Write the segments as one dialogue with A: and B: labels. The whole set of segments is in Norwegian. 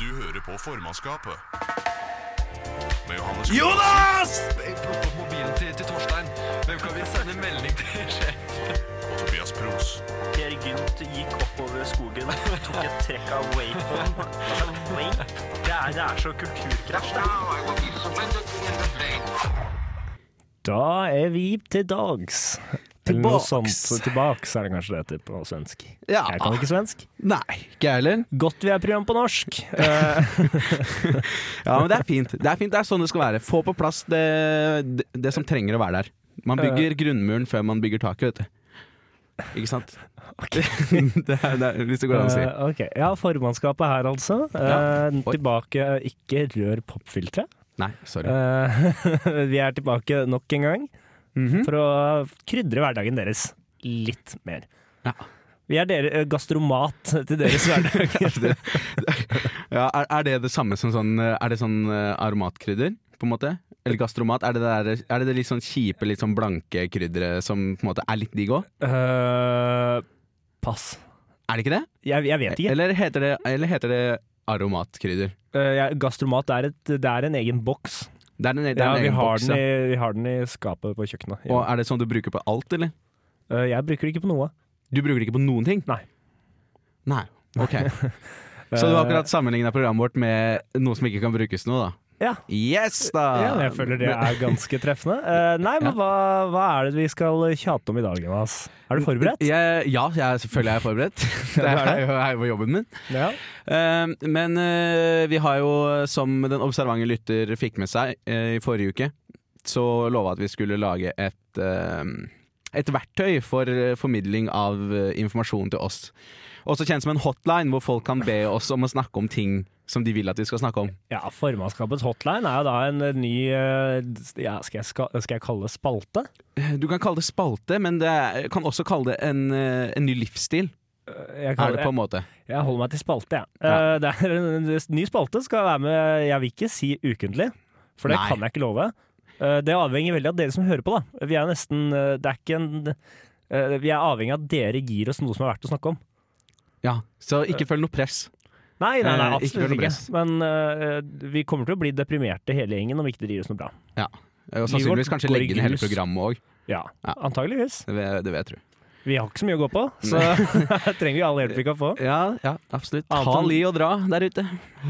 A: Du hører på formannskapet. Med Johannes
B: Jonas!
C: Plukk opp mobilen til, til Torstein. Hvem kan vi sende melding til? sjef?
A: og Tobias Pros.
D: Per Gynt gikk oppover skogen, tok et trekk av vapen. Altså, vape? Det er, det er så kulturkrasj, det.
B: Da er vi til dags. Eller noe
E: Tilbaks.
B: sånt. Tilbaks er det kanskje det heter på svensk.
E: Ja.
B: Jeg kan ikke svensk.
E: Nei, ikke jeg heller.
B: Godt vi er program på norsk.
E: Ja, men det er fint. Det er fint, det er sånn det skal være. Få på plass det, det, det som trenger å være der. Man bygger grunnmuren før man bygger taket, vet du. Ikke sant? det er, det er, hvis det går an å si.
B: Eh, ok, Ja, formannskapet her, altså.
E: Ja.
B: Eh,
E: Oi.
B: tilbake Ikke rør popfilteret.
E: Nei, sorry.
B: Eh, vi er tilbake nok en gang
E: Mhm.
B: for å krydre hverdagen deres litt mer.
E: Ja.
B: Vi er dere, eh, gastromat til deres hverdag.
E: Ja, er, er det det samme som sånn eh, Er det sånn eh, aromatkrydder, på en måte? Eller gastromat? Er det det, der, er det det litt sånn kjipe, litt sånn blanke krydderet som på en måte er litt digg òg?
B: Eh, pass.
E: Er det ikke det?
B: Jeg, jeg vet ikke.
E: Eller heter det, eller heter det aromatkrydder?
B: Eh, jeg- gastromat er, et, det er en egen boks.
E: Det er en, det er
B: Ja,
E: en
B: vi
E: egen
B: har,
E: boks,
B: den
E: ja.
B: i, vi har den i skapet på kjøkkenet.
E: Og er det sånn du bruker på alt, eller?
B: Eh, jeg bruker det ikke på noe.
E: Du bruker det ikke på noen ting?
B: Nei.
E: Nei, ok Så
B: Eh.
E: du har akkurat sammenligna programmet vårt med noe som ikke kan brukes nå, da?
B: Ja.
E: Yes, da!
B: Ja, men jeg føler det er ganske treffende. Eh, nei, men hva, hva er det vi skal tjate om i dag, Jonas? Er du forberedt?
E: Jeg, ja, jeg, selvfølgelig er jeg forberedt. Det
B: Ja, du er
E: er jo, er jo jobben min.
B: Ja.
E: Eh, men eh, vi har jo, som den observante lytter fikk med seg eh, i forrige uke, så lova at vi skulle lage et, eh, et verktøy for eh, formidling av eh, informasjon til oss. Også kjent som en hotline, hvor folk kan be oss om å snakke om ting som de vil at vi skal snakke om.
B: ja formannskapets hotline er jo da en eh, ny eh, ja, skal, jeg, ska- skal jeg kalle det spalte?
E: Eh, Du kan kalle det spalte, men det er, kan også kalle det en, eh, en ny livsstil.
B: Eh, Jeg,
E: Er
B: kaller,
E: det på en måte.
B: jeg, jeg holder meg til spalte, jeg. Eh, det er en, en ny spalte skal være med Jeg vil ikke si ukentlig, for det
E: Nei.
B: kan jeg ikke love. Eh, det avhenger veldig av dere som hører på, da. Vi er nesten eh, Det er ikke en eh, Vi er avhengig av at dere gir oss noe som er verdt å snakke om.
E: Ja, så ikke føl noe press.
B: Nei, nei, nei
E: Eh, ikke
B: absolutt
E: noe
B: ikke.
E: press.
B: Men eh, vi kommer til å bli deprimerte hele gjengen om ikke det gir oss noe bra.
E: Ja. Og sannsynligvis kanskje
B: går i
E: legge ned hele
B: grus.
E: programmet òg.
B: Ja,
E: Ja.
B: antageligvis.
E: Det, vil- det vil jeg tro.
B: Vi har ikke så mye å gå på, så trenger vi all hjelp vi kan få.
E: Ja, ja, absolutt.
B: Annet
E: Ta
B: enn-
E: li og dra der ute.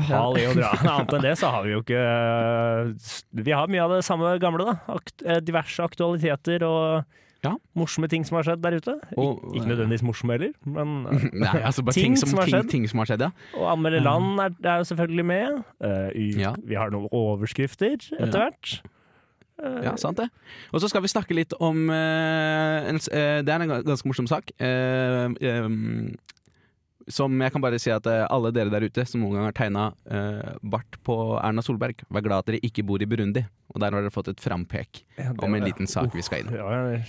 B: Ha le og dra. Annet enn det så har vi jo ikke eh, s- Vi har mye av det samme gamle, da. Akt, eh, diverse aktualiteter og
E: Ja.
B: morsomme ting som har skjedd der ute. Ik
E: Og- eh,
B: ikke nødvendigvis morsomme heller, men eh,
E: Nei, altså bare ting, som, har ting, skjedd. Ting som har skjedd, ja.
B: Å anmelde land er, er jo selvfølgelig med. Eh, i-
E: Ja.
B: Vi har noen overskrifter etter hvert.
E: ja sant det. Og så skal vi snakke litt om eh, en, s- eh, Det er en ga- ganske morsom sak. eh, em, som jeg kan bare si at eh, alle dere der ute som noen gang har tegna bart på Erna Solberg, vær glad at dere ikke bor i Burundi. Og der har dere fått et frampek
B: Ja, det
E: om en
B: var-
E: liten sak vi skal inn i.
B: Det var en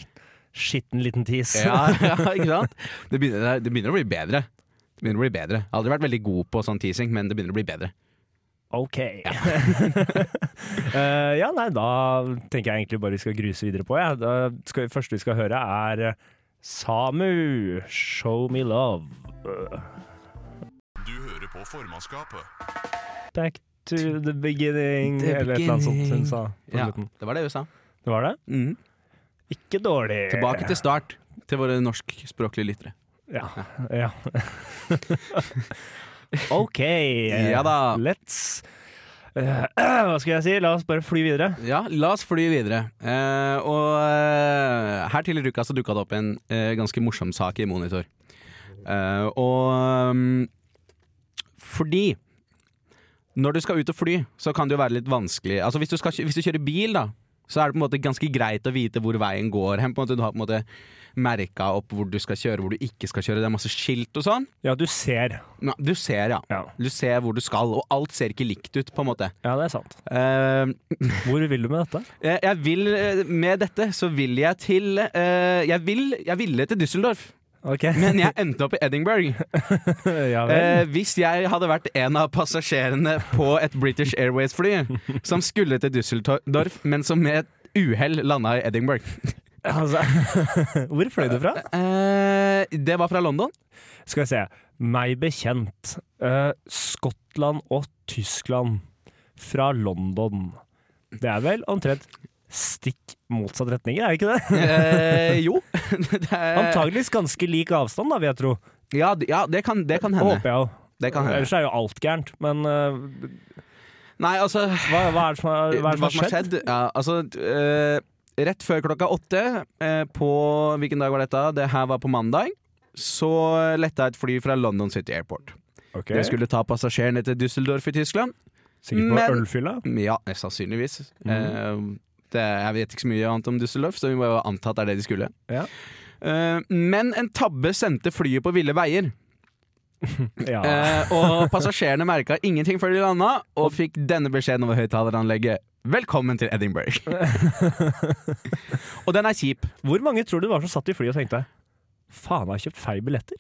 B: skitten liten tis.
E: Ja, ja, ikke sant? Det begynner, det begynner å bli bedre. Det begynner å bli bedre. Jeg har aldri vært veldig god på sånn teasing, men det begynner å bli bedre.
B: Ok. Eh, ja, nei, da tenker jeg egentlig bare vi skal gruse videre på. Ja. Da skal, første vi skal høre, er Samu, 'Show Me Love'.
A: Du hører på formannskapet.
B: Back to the beginning,
E: The
B: eller et eller annet sånt hun
E: beginning.
B: sa. på
E: Ja,
B: slutten.
E: det var det hun sa.
B: Det var det?
E: Mhm.
B: Ikke dårlig.
E: Tilbake til start, til våre norskspråklige lyttere.
B: Ja. ja. OK. eh,
E: Ja da.
B: Let's eh, Hva skal jeg si? La oss bare fly videre.
E: Ja, la oss fly videre. Eh, og eh, her tidligere i uka så dukka det opp en eh, ganske morsom sak i Monitor. Eh, og mm, fordi når du skal ut og fly, så kan det jo være litt vanskelig. Altså Hvis du, skal, kjø- hvis du kjører bil, da, så er det på en måte ganske greit å vite hvor veien går hen. På en måte, du har på en måte merka opp hvor du skal kjøre, hvor du ikke skal kjøre. Det er masse skilt og sånn.
B: Ja, du ser.
E: Ja, du ser, ja.
B: Ja,
E: Du ser hvor du skal, og alt ser ikke likt ut, på en måte.
B: ja det er sant.
E: Eh,
B: Hvor vil du med dette?
E: Eh, Jeg vil, eh, med dette så vil jeg til eh, jeg, vil, jeg ville til Düsseldorf,
B: Ok.
E: men jeg endte opp i Edinburgh.
B: ja vel.
E: Eh, hvis jeg hadde vært en av passasjerene på et British Airways-fly som skulle til Düsseldorf, men som med et uhell landa i Edinburgh.
B: Altså, hvor fløy du fra?
E: Eh, det var fra London.
B: Skal vi se. meg bekjent, eh, Skottland og Tyskland fra London. Det er vel omtrent stikk motsatt retninger, er det ikke det?
E: Eh, jo. det er,
B: Antageligvis ganske lik avstand, da, vil jeg tro.
E: Ja, d- ja det, kan, det kan hende.
B: Håper jeg jo.
E: Det kan hende.
B: Ellers er jo alt gærent. Men eh,
E: Nei, altså
B: hva, hva er det som har, hva er det som har skjedd?
E: Ja, altså eh, Rett før klokka åtte eh, på Hvilken dag var dette? Det her var på mandag. Så letta et fly fra London City Airport.
B: Ok.
E: Det skulle ta passasjerene til Düsseldorf i Tyskland.
B: Sikkert på
E: men-
B: ølfylla?
E: Ja, sannsynligvis.
B: Mhm.
E: Eh, det, jeg vet ikke så mye annet om Düsseldorf, så vi må jo anta at det er det de skulle.
B: Ja.
E: Eh, men en tabbe sendte flyet på ville veier,
B: Ja.
E: eh, og passasjerene merka ingenting før de landa, og fikk denne beskjeden over høyttaleranlegget. Velkommen til Edinburgh. og den er kjip.
B: Hvor mange tror du det var som satt i flyet og tenkte Faen, jeg har kjøpt feil billetter?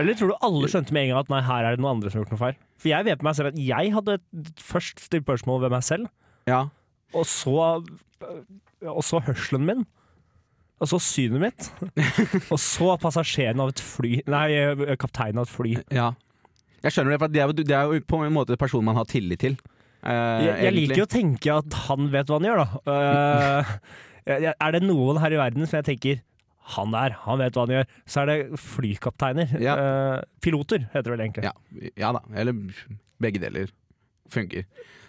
B: Eller tror du alle skjønte med en gang at nei, her er det noen andre som har gjort noe feil? For jeg vet på meg selv at jeg hadde et- først stilt spørsmål ved meg selv,
E: Ja.
B: og så Og så hørselen min. Og så synet mitt. Og så passasjeren av et fly Nei, kapteinen av et fly.
E: ja. Jeg skjønner det, for det er, jo, det er jo på en måte personen man har tillit til. eh,
B: Jeg, jeg
E: egentlig.
B: liker jo å tenke at han vet hva han gjør, da. Eh, jeg- er det noen her i verden som jeg tenker han der, han vet hva han gjør. Så er det flykapteiner.
E: Ja.
B: Eh, piloter, heter det vel egentlig.
E: Ja, ja da. Eller begge deler funker.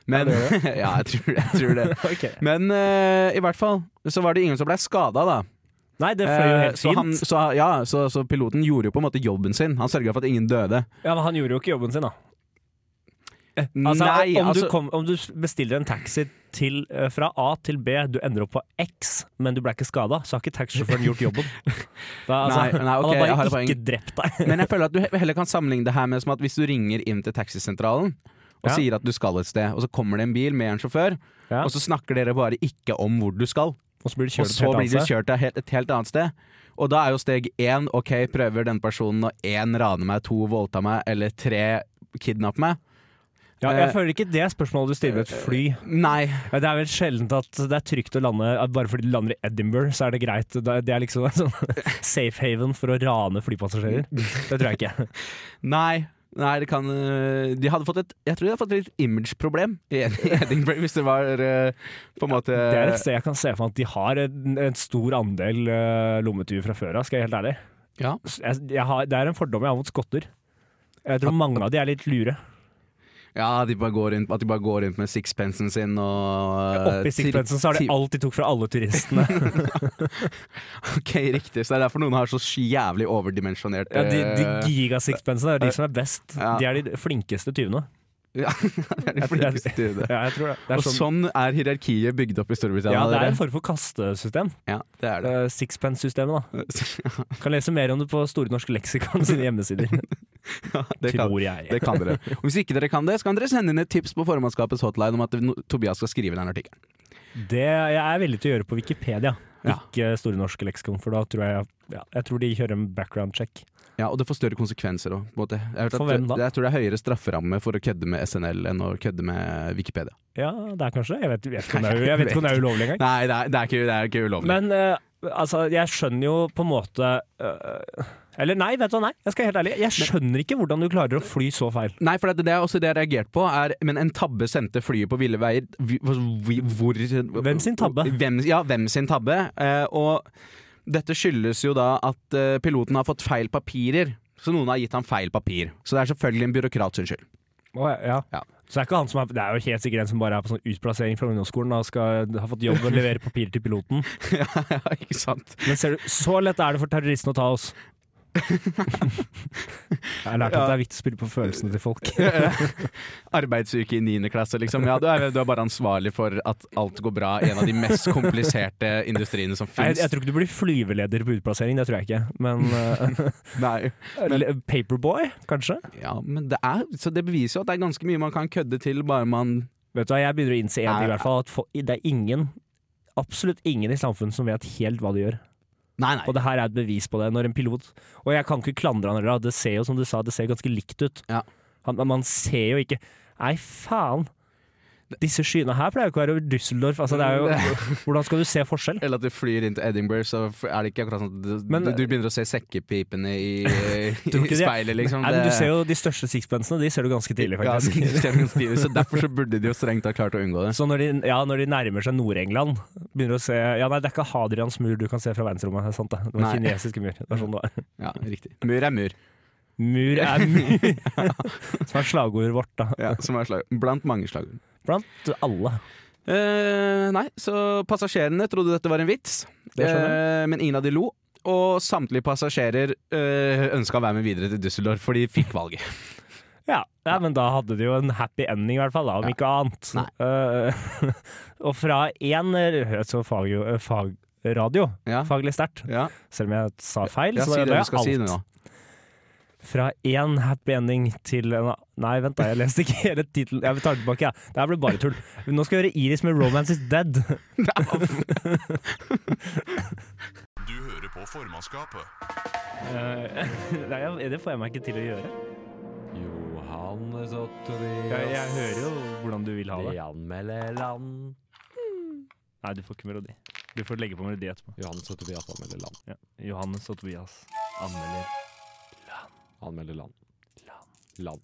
E: Men Ja, jeg tror, jeg tror det.
B: Ok.
E: Men eh, i hvert fall så var det ingen som ble skada, da.
B: Nei, det fløy jo
E: Eh,
B: helt
E: så,
B: fint.
E: han, så, ja, så, så piloten gjorde jo på en måte jobben sin. Han sørga for at ingen døde.
B: Ja, men han gjorde jo ikke jobben sin, da. Altså,
E: Nei,
B: om,
E: altså
B: du kom, om du bestiller en taxi til, eh, fra A til B, du ender opp på X, men du ble ikke skada, så har ikke taxisjåføren gjort jobben. Da, altså,
E: Nei, nei, ok, jeg
B: han
E: har
B: har
E: et
B: bare
E: poeng.
B: ikke drept deg.
E: Men jeg føler at du he- heller kan sammenligne det her med som at hvis du ringer inn til taxisentralen og
B: Ja.
E: sier at du skal et sted, og så kommer det en bil med en sjåfør,
B: Ja.
E: og så snakker dere bare ikke om hvor du skal.
B: Og så blir du
E: Og
B: kjørt
E: så blir de
B: annet sted.
E: kjørt til helt- et helt annet sted. Og da er jo steg én OK, prøver den personen å én rane meg, to voldta meg, eller tre kidnappe meg?
B: Ja,
E: Eh,
B: jeg føler ikke det spørsmålet du stiller ved et fly.
E: Nei.
B: Ja, Det er vel sjeldent at det er trygt å lande at Bare fordi du lander i Edinburgh, så er det greit. Det er- det er liksom en sånn safe haven for å rane flypassasjerer. Det tror jeg ikke.
E: Nei. Nei, det kan øh, De hadde fått et Jeg tror de hadde fått et litt image-problem i Ed- i Edinburgh, hvis det var øh, på en måte
B: Det er et sted jeg kan se for meg at de har en, en stor andel uh, lommetyver fra før av, skal jeg være helt ærlig.
E: Ja.
B: Så Jeg, jeg har, det er en fordom jeg har mot skotter. Jeg tror mange av de er litt lure.
E: Ja, de bare går rundt, at de bare går rundt med sixpensen sin og øh,
B: Oppi sixpensen så har de
E: ti-
B: alt de tok fra alle turistene.
E: Ok, riktig. Så det er derfor noen har så jævlig overdimensjonert
B: Ja, de de
E: øh,
B: gigasixpensene er de som er best.
E: Ja.
B: De er de flinkeste tyvene.
E: ja, det er de
B: Jeg-
E: flinkeste til det.
B: Ja, jeg tror det. det er
E: Og
B: sånn,
E: sånn er hierarkiet bygd opp i Storbritannia.
B: ja, det er
E: dere.
B: en form for kastesystem.
E: ja, det er det.
B: Eh, Sixpence-systemet, da. Kan lese mer om det på Store norske leksikon sine hjemmesider,
E: det, kan,
B: tror jeg.
E: det kan dere. Og hvis ikke dere kan det, så kan dere sende inn et tips på formannskapets hotline om at no- Tobias skal skrive den artikkelen.
B: Det jeg er villig til å gjøre på Wikipedia,
E: Ja.
B: ikke Store norske leksikon, for da tror jeg ja, Jeg tror de kjører en background check.
E: Ja, Og det får større konsekvenser òg. Jeg, har hørt at
B: For hvem da?
E: det- jeg tror det er høyere strafferamme for å kødde med SNL enn å kødde med Wikipedia.
B: Ja, det er kanskje det. Jeg vet, jeg vet ikke om det er, jeg vet ikke om det er ulovlig engang.
E: Nei, det er, det er, ikke, det er ikke ulovlig.
B: Men eh, altså, jeg skjønner jo på en måte eh, Eller nei, vet du hva, nei. Jeg skal være helt ærlig. Jeg skjønner ikke hvordan du klarer å fly så feil.
E: Nei, for det, det er også det jeg har reagert på. Er, men en tabbe sendte flyet på ville veier. Vi- vi- Hvor
B: Hvem sin tabbe?
E: Hvem, ja, hvem sin tabbe? Eh, og dette skyldes jo da at eh, piloten har fått feil papirer. Så noen har gitt ham feil papir. Så det er selvfølgelig en byråkrat sin skyld. Ja.
B: Så det er ikke han som er, det er jo helt sikkert en som bare er på sånn utplassering fra ungdomsskolen og skal, har fått jobb og leverer papirer til piloten.
E: ja, ja, ikke sant?
B: Men ser du, så lett er det for terroristene å ta oss. Jeg har lært at det er viktig å spille på følelsene til folk.
E: Arbeidsuke i niende klasse, liksom. Ja, du er, du er bare ansvarlig for at alt går bra i en av de mest kompliserte industriene som
B: Jeg,
E: fins.
B: jeg tror ikke du blir flyveleder på utplassering, det tror jeg ikke. Men eh,
E: Nei.
B: le- Paperboy, kanskje?
E: Ja, men det er, så det beviser jo at det er ganske mye man kan kødde til, bare man
B: Vet du hva, jeg begynner å innse en ting
E: Nei.
B: i hvert fall, at fo- det er ingen, absolutt ingen i samfunnet som vet helt hva de gjør.
E: Nei, nei.
B: Og det her er et bevis på det, når en pilot Og jeg kan ikke klandre han heller, det ser jo som du sa, det ser ganske likt ut.
E: Ja.
B: Han, man ser jo ikke Nei, faen! Disse skyene her pleier jo ikke å være over Düsseldorf. Altså, det er jo, hvordan skal du se forskjell?
E: Eller at du flyr inn til Edinburgh, så er det ikke akkurat sånn at du,
B: Men- eh,
E: du, du begynner å se sekkepipene i, i
B: Tror ikke de-
E: speilet, liksom.
B: Nei, men du ser jo De største sixpensene de ser du ganske tidlig,
E: Ja,
B: faktisk.
E: det ser ganske tidlig ut, så derfor så burde de jo strengt ha klart å unngå det.
B: Så når de, ja, når de nærmer seg Nord-England Begynner å se Ja, nei, det er ikke Hadrians mur du kan se fra verdensrommet. Det er sant det. Det var
E: Nei.
B: kinesiske mur. Det var sånn det var.
E: Ja, riktig. Mur er mur.
B: Mur er mur! Som er slagordet vårt, da.
E: Ja, som er slag. Blant mange slagord.
B: Blant alle.
E: Eh, nei, så passasjerene trodde dette var en vits,
B: Det skjønner
E: Eh, men ingen av de lo. Og samtlige passasjerer uh, ønska å være med videre til Düsseldorf, for de fikk valget.
B: Ja, ja, men da hadde de jo en happy ending, i hvert fall, da, om ikke annet. Eh, og fra én altså fag, fagradio,
E: Ja.
B: faglig sterkt,
E: Ja,
B: selv om jeg sa feil,
E: ja
B: så
E: si
B: det,
E: det
B: er
E: du skal si
B: alt.
E: nå.
B: Fra én happy ending til en annen Nei, vent da, jeg leste ikke hele tittelen. Jeg tar det tilbake, jeg. Ja. Det her ble bare tull. Nå skal vi gjøre Iris med 'Romance Is Dead'.
A: Du hører på formannskapet.
B: Eh, Nei, jeg- det får jeg meg ikke til å gjøre.
F: Johannes og
B: Jeg,
F: Tobias.
B: jeg hører jo hvordan du vil ha
F: De
B: det.
F: anmelder land.
B: Nei, du får ikke melodi. Du får legge på melodi etterpå.
F: Johannes og Tobias anmelder land.
B: Ja. Johannes og Tobias anmelder
F: Anmelder land. Land.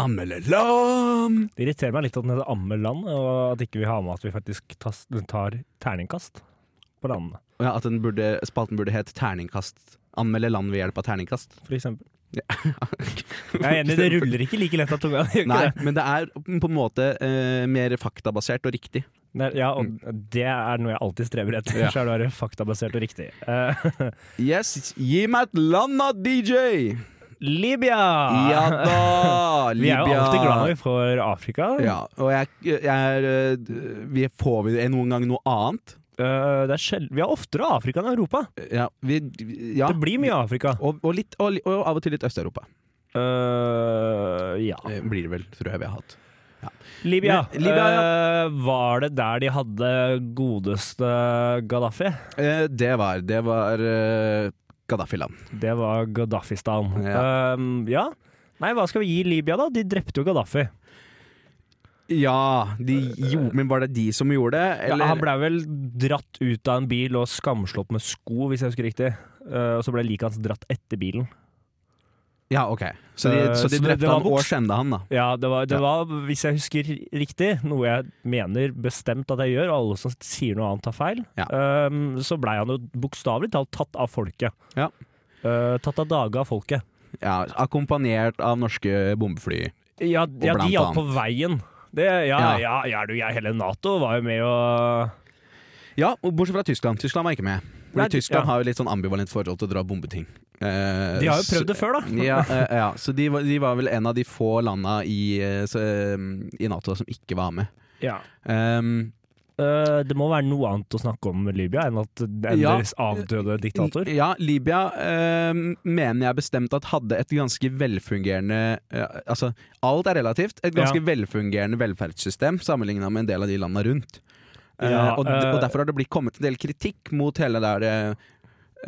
E: Anmelde lam!
B: Det irriterer meg litt at den heter Ammeland, og at ikke vi har med at vi faktisk tas, tar terningkast på landene,
E: Og Ja, at den burde, spalten burde hett terningkast. Anmelde land ved hjelp av terningkast.
B: for eksempel. Jeg er enig, det ruller ikke like lett av tunga. det gjør ikke
E: Nei,
B: det.
E: men det er på en måte eh, mer faktabasert og riktig.
B: Nei, Ja, og det er noe jeg alltid streber etter,
E: Ja.
B: så er det å være faktabasert og riktig. Eh,
E: Yes, gi meg et land da, DJ!
B: Libya!
E: Ja da!
B: Ah. Vi er
E: Libya.
B: jo alltid glad når vi får Afrika.
E: Ja, og jeg, jeg er eh, vi Får vi noen gang noe annet?
B: Eh, det er sjel vi har oftere Afrika enn Europa.
E: Ja. Vi, ja.
B: Det blir mye Afrika.
E: Og, og, litt, og, og av og til litt Øst-Europa.
B: Eh, ja.
E: Eh, Blir det vel, tror jeg vi har hatt.
B: Libya.
E: Men- Libya,
B: Eh, var det der de hadde godeste Gaddafi?
E: Eh, det var, det var eh, Gaddafi-land.
B: Det var Gaddafistan.
E: Ja.
B: Ja. ja. Nei, hva skal vi gi Libya, da? De drepte jo Gaddafi.
E: Ja, de gjorde, men var det de som gjorde det?
B: Ja, han blei vel dratt ut av en bil og skamslått med sko, hvis jeg husker riktig. Eh, og så ble liket hans dratt etter bilen.
E: Ja, ok. Så de,
B: Eh,
E: så de
B: så det-
E: drepte
B: det var
E: han og
B: voks-
E: skjenda han, da.
B: Ja, det var, det
E: Ja.
B: var, hvis jeg husker riktig, noe jeg mener bestemt at jeg gjør, og alle som sier noe annet tar feil,
E: Ja.
B: ehm, så blei han jo bokstavelig talt tatt av folket.
E: Ja.
B: Eh, tatt av dage av folket.
E: Ja, Akkompagnert av norske bombefly.
B: Ja, ja de
E: blant
B: hjalp på veien. Det, ja,
E: Ja.
B: ja. Ja, du, jeg, hele Nato var jo med og
E: Ja, og bortsett fra Tyskland. Tyskland var ikke med. Fordi
B: Nei, de- ja.
E: Tyskland har jo litt sånn ambivalent forhold til å dra bombeting. Eh,
B: De har jo prøvd det før, da.
E: så- Ja, eh, ja, så de var, de var vel en av de få landa i, eh, så, eh, i Nato som ikke var med.
B: Ja.
E: Ehm,
B: Eh, det må være noe annet å snakke om med Libya enn at enn
E: Ja.
B: deres avdøde diktator.
E: Ja, Libya eh, mener jeg bestemt at hadde et ganske velfungerende eh, Altså, alt er relativt. Et ganske
B: Ja.
E: velfungerende velferdssystem sammenligna med en del av de landa rundt. Eh,
B: Ja,
E: og,
B: eh,
E: og derfor har det blitt kommet en del kritikk mot hele der eh,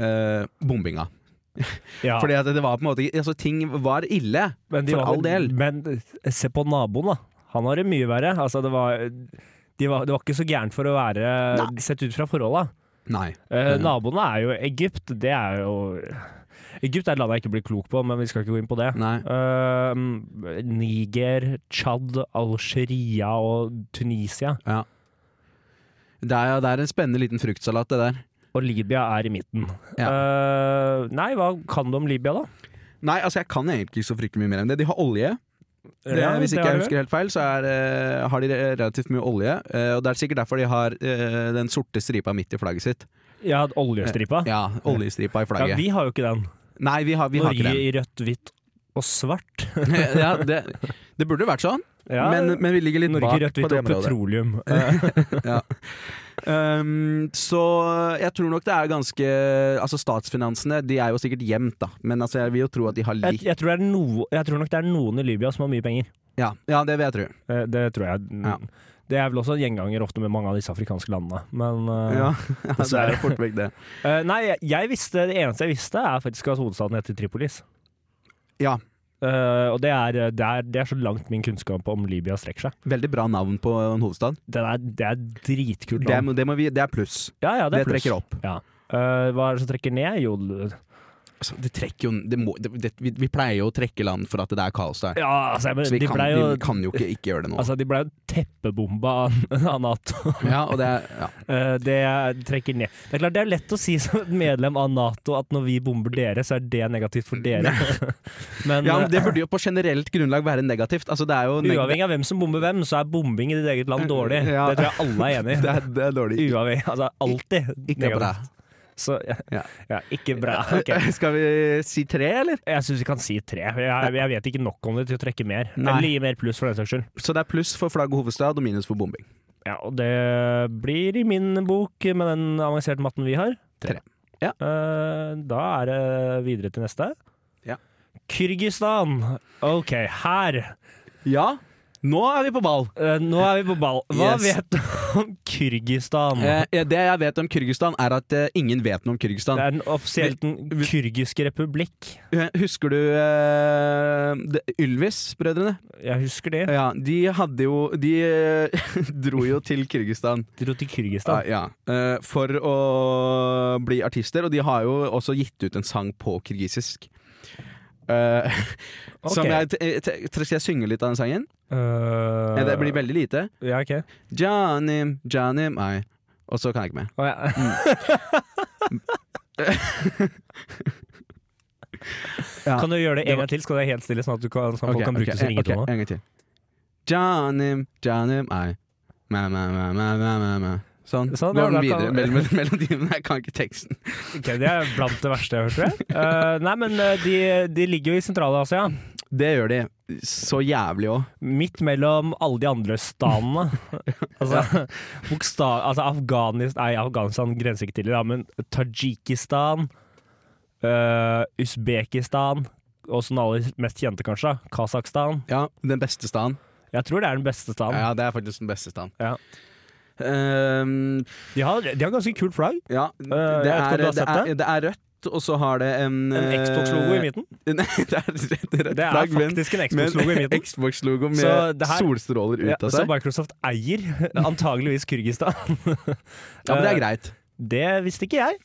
E: eh, bombinga.
B: Ja,
E: Fordi at det var på en måte altså, Ting var ille,
B: men de
E: for
B: var-
E: all del.
B: Men se på naboen, da. Han har det mye verre. Altså, det var, de var, det var ikke så gærent for å være sett ut fra forholda.
E: Nei.
B: Eh,
E: Mm.
B: Naboene er jo Egypt. Det er jo Egypt er et land jeg ikke blir klok på, men vi skal ikke gå inn på det.
E: Nei.
B: Eh, Niger, Tsjad, Algeria og Tunisia.
E: Det er, det er en spennende liten fruktsalat, det der.
B: Og Libya er i midten. Eh, nei, hva kan du om Libya, da?
E: Nei, altså, jeg kan egentlig ikke så fryktelig mye mer enn det. De har olje. Det,
B: Ja,
E: hvis
B: det
E: ikke
B: har
E: jeg
B: du.
E: husker helt feil, så er, eh, har de relativt mye olje. eh, og Det er sikkert derfor de har eh, den sorte stripa midt i flagget sitt.
B: Ja, oljestripa.
E: Ja, Oljestripa
B: Ja,
E: i flagget.
B: vi har jo ikke den.
E: Nei, vi har, vi har
B: Norge
E: ikke den.
B: i rødt, hvitt og svart.
E: ja, det, det burde vært sånn,
B: Ja,
E: men, men vi ligger litt
B: Norge i
E: bak
B: rødt,
E: på
B: hvitt
E: det
B: og
E: området.
B: petroleum.
E: Um, så jeg tror nok det er ganske Altså Statsfinansene de er jo sikkert gjemt, da, men altså, jeg vil jo tro at de har
B: Jeg,
E: litt
B: jeg, tror det er noe- jeg tror nok det er noen i Libya som har mye penger.
E: ja, ja, det vil jeg tro.
B: Eh, Det tror jeg.
E: Ja.
B: Det er vel også en gjenganger ofte med mange av disse afrikanske landene. Men eh,
E: Ja, ja, det er jo fort vekk, det.
B: eh, Nei, jeg- jeg visste, det eneste jeg visste, er faktisk at hovedstaden heter Tripolis.
E: Ja.
B: Eh, og det er, det, er, det er så langt min kunnskap om Libya strekker seg.
E: Veldig bra navn på en hovedstad.
B: Det er, det er dritkult.
E: Det,
B: land.
E: må- det, må vi, det er pluss.
B: ja, ja, det,
E: Det,
B: er pluss.
E: trekker opp.
B: Ja. Eh, hva er det som trekker ned? Jo,
E: Altså, det trekker jo det må, det, det, vi, vi pleier jo å trekke land for at det er kaos der.
B: ja, altså, men,
E: Så vi
B: de
E: kan,
B: ble jo
E: vi kan jo ikke ikke gjøre det nå.
B: Altså, de ble jo teppebomba av- av Nato.
E: ja, og det er ja.
B: Eh, det trekker ned. Det er klart det er lett å si som et medlem av Nato at når vi bomber dere, så er det negativt for dere. Men,
E: ja, men
B: eh,
E: det burde jo på generelt grunnlag være negativt. Altså, det er jo neg-
B: uavhengig av hvem som bomber hvem, så er bombing i ditt eget land dårlig.
E: Ja.
B: Det tror jeg alle er enig
E: Det
B: i.
E: er, det er dårlig.
B: Uavhengig. Altså alltid
E: Ikke bra.
B: Så, ja,
E: Ja.
B: ja, ikke bra. Ok.
E: Skal vi si tre, eller?
B: Jeg syns vi kan si tre. Jeg, jeg vet ikke nok om det til å trekke mer.
E: Nei.
B: Eller gi mer pluss, for den saks skyld.
E: Så det er pluss for flagg og hovedstad og minus for bombing.
B: Ja, og det blir i min bok, med den avanserte matten vi har,
E: Tre. Ja.
B: Eh, da er det videre til neste.
E: Ja.
B: Kyrgyzstan. OK, her.
E: Ja, nå er vi på ball.
B: Eh, nå er vi på ball. Hva
E: Yes.
B: vet du om Kyrgyzstan?
E: Eh, det jeg vet om Kyrgyzstan, er at eh, ingen vet noe om Kyrgyzstan.
B: det er den offisielt den kyrgyske republikk.
E: Eh, Husker du eh, det- Ylvis-brødrene?
B: Jeg husker det.
E: Ja, de hadde jo De eh, dro jo til Kyrgyzstan
B: De dro til Kyrgyzstan.
E: ja, eh, for å bli artister, og de har jo også gitt ut en sang på kirgisisk. Eh,
B: Ok.
E: Som jeg, t- t- t- skal jeg synge litt av den sangen?
B: Eh,
E: Eh, Det blir veldig lite.
B: Ja, ok.
E: Janim, Janim, ai. Og så kan jeg ikke mer.
B: Å, ja.
E: Mm. Ja.
B: Kan du gjøre det en
E: Det var-
B: gang til, skal det være helt stille, sånn at du kan, sånn at
E: Ok,
B: folk kan bruke
E: ok,
B: det som ringetone?
E: ok, En gang til. Janim, Janim, ai. Mæ, mæ, mæ, mæ, mæ, mæ, mæ. Sånn.
B: Sånn,
E: Mellom
B: da
E: videre,
B: kan-
E: mellom melodien. Jeg kan ikke teksten.
B: Ok, Det er blant det verste jeg har hørt, tror jeg. Eh, nei, men eh, de, de ligger jo i Sentral-Asia.
E: Det gjør de. Så jævlig òg.
B: Midt mellom alle de andre stanene. altså, bokstav, altså Afghanistan Nei, Afghanistan grenser ikke til det, da, men Tadsjikistan, eh, Usbekistan og som den aller mest kjente, kanskje, da, Kasakhstan.
E: Ja, den beste staden.
B: Jeg tror det er den beste staden.
E: Ja, det er faktisk den beste staden.
B: Ja.
E: Ehm,
B: De har, de har ganske kult flagg.
E: ja, det,
B: Eh, jeg vet ikke om du
E: er,
B: har
E: det,
B: sett
E: er, det er rødt, og så har det en
B: En
E: eh,
B: Xbox-logo i midten.
E: Nei, det er rett, rødt
B: Det er
E: flagg, men-
B: faktisk en
E: men
B: Xbox-logo i midten.
E: Xbox-logo med
B: Så det her-
E: solstråler ut
B: Ja,
E: av
B: så
E: seg.
B: Microsoft eier antageligvis Kyrgyzstan.
E: Ja, men det er greit.
B: Det visste ikke jeg.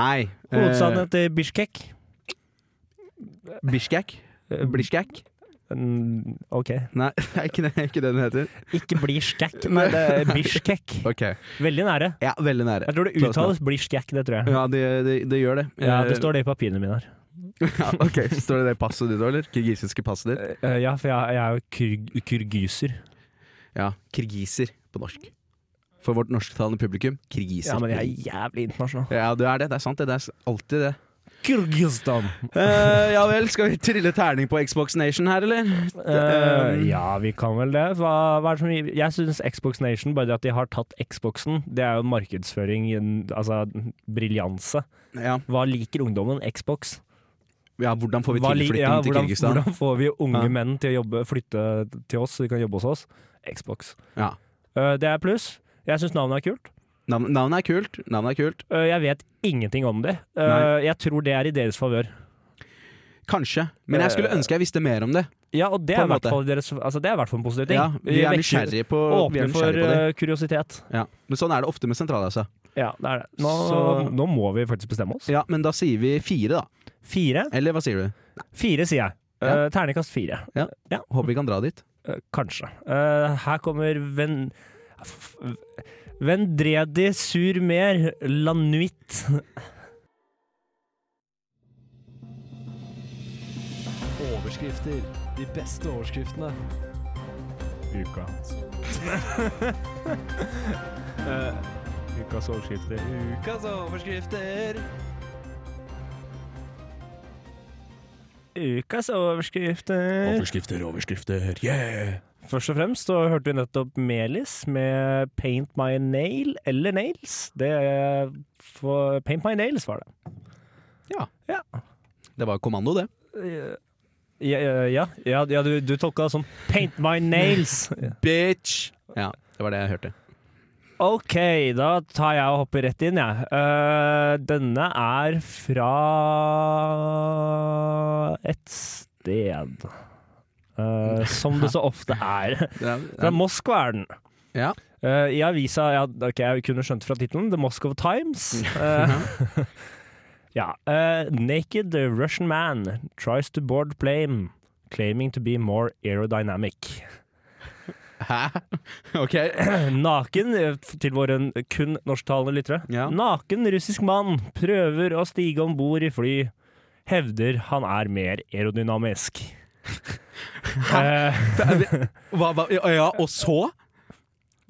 E: Nei. eh,
B: Hovedstaden heter Bishkek.
E: eh, Bishkek? Blishkek?
B: Mm, OK.
E: Nei, det er ikke det, ikke det den heter.
B: Ikke Blishkek, men det er Bishkek.
E: Ok,
B: Veldig nære.
E: ja, Veldig nære.
B: Jeg tror det
E: Close
B: uttales Blishkek, det tror jeg.
E: Ja, eh, det det- det gjør det.
B: Ja, Det står det i papirene mine her.
E: ja, ok, Står det det i passet ditt òg, eller? Kirgisiske passet ditt?
B: Eh, Ja, for jeg, jeg er jo kyrg kyrgyser.
E: Ja, kirgiser på norsk. For vårt norsktalende publikum, kirgiser.
B: Ja, men jeg er jævlig internasjonal.
E: Ja, du er det. Det er sant, det. Det er alltid det.
B: Kyrgyzstan!
E: Eh, ja vel, skal vi trille terning på Xbox Nation her, eller? Ehm,
B: Eh, ja, vi kan vel det. Hva, hva er det som, jeg syns Xbox Nation, bare det at de har tatt Xboxen, det er jo markedsføring, en- altså briljanse.
E: Ja,
B: Hva liker ungdommen? Xbox.
E: ja hvordan får vi
B: Hva li-
E: tilflytting
B: ja,
E: til
B: hvordan,
E: Kirgisistan?
B: Hvordan får vi unge
E: Ja.
B: menn til å jobbe, flytte til oss, så de kan jobbe hos oss? Xbox.
E: Ja.
B: Eh, det er pluss. Jeg syns navnet er kult.
E: Navn, navnet er kult. Navnet er kult.
B: Eh, jeg vet ingenting om det. Eh,
E: Nei.
B: jeg tror det er i deres favør.
E: Kanskje. Men jeg skulle ønske jeg visste mer om det.
B: Ja, og det
E: På
B: er
E: en
B: i hvert
E: måte.
B: fall deres altså, Det er i hvert fall en positiv ting.
E: Ja, vi er
B: vekker-
E: nysgjerrige på, vi er
B: Åpner for
E: nysgjerrige på det.
B: eh, kuriositet.
E: Ja. Men sånn er det ofte med Sentral-Asia.
B: Ja, det er det. Nå,
E: Så-
B: nå må vi faktisk bestemme oss.
E: Ja, men da sier vi fire, da.
B: Fire?
E: Eller hva sier du?
B: Fire, sier jeg.
E: Ja.
B: Eh, terningkast fire.
E: Håper vi kan dra dit.
B: Eh, kanskje. Eh, her kommer Ven... F- Vendredi surmer lanuit.
F: Overskrifter. De beste overskriftene.
B: Uka. ukas overskrifter.
F: Ukas overskrifter.
B: Ukas overskrifter.
A: Overskrifter, overskrifter, yeah!
B: Først og fremst så hørte vi nettopp Melis med 'Paint My Nail' eller 'Nails'. Det er for 'Paint My Nails' var det.
E: Det var kommando, det.
B: Ja, ja, ja, ja du, du tolka det som 'Paint My Nails'.
E: Bitch! Ja, det var det jeg hørte.
B: Ok, da tar jeg og hopper rett inn, jeg. Eh, denne er fra et sted. Eh, som det så ofte er.
E: Det
B: Fra
E: er,
B: Moskva er den.
E: ja.
B: Eh, I avisa ja, ok, Jeg kunne skjønt fra tittelen The Moscow Times. Eh, ja. eh, naked Russian man tries to board plane, claiming to be more aerodynamic.
E: Hæ? Ok.
B: Naken, eh, til våre kun norsktalende lyttere
E: Ja.
B: Naken russisk mann prøver å stige om bord i fly. Hevder han er mer aerodynamisk. Eh,
E: Hva, hva, ja, og så?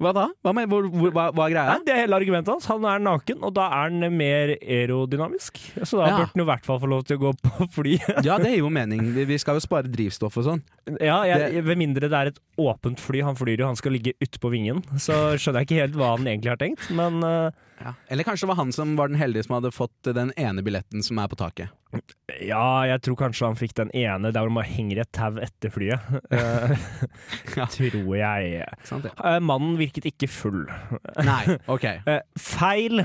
E: Hva da? Hva, med, hvor, hvor, hva, hva er greia?
B: Nei, det er hele argumentet hans. Han er naken, og da er han mer aerodynamisk. Så da
E: Ja.
B: burde han i hvert fall få lov til å gå på fly.
E: Ja, det gir jo mening. Vi- Vi skal jo spare drivstoff og sånn.
B: Ja, jeg, Ved mindre det er et åpent fly han flyr i, og han skal ligge utpå vingen, så skjønner jeg ikke helt hva han egentlig har tenkt, men eh,
E: Eller kanskje det var han som var den heldige som hadde fått den ene billetten som er på taket.
B: ja, jeg tror kanskje han fikk den ene der hvor man henger et tau etter flyet. Eh,
E: Ja.
B: Tror jeg.
E: Ikke sant? Ja.
B: Eh, mannen virket ikke full.
E: Nei, ok.
B: Eh, feil!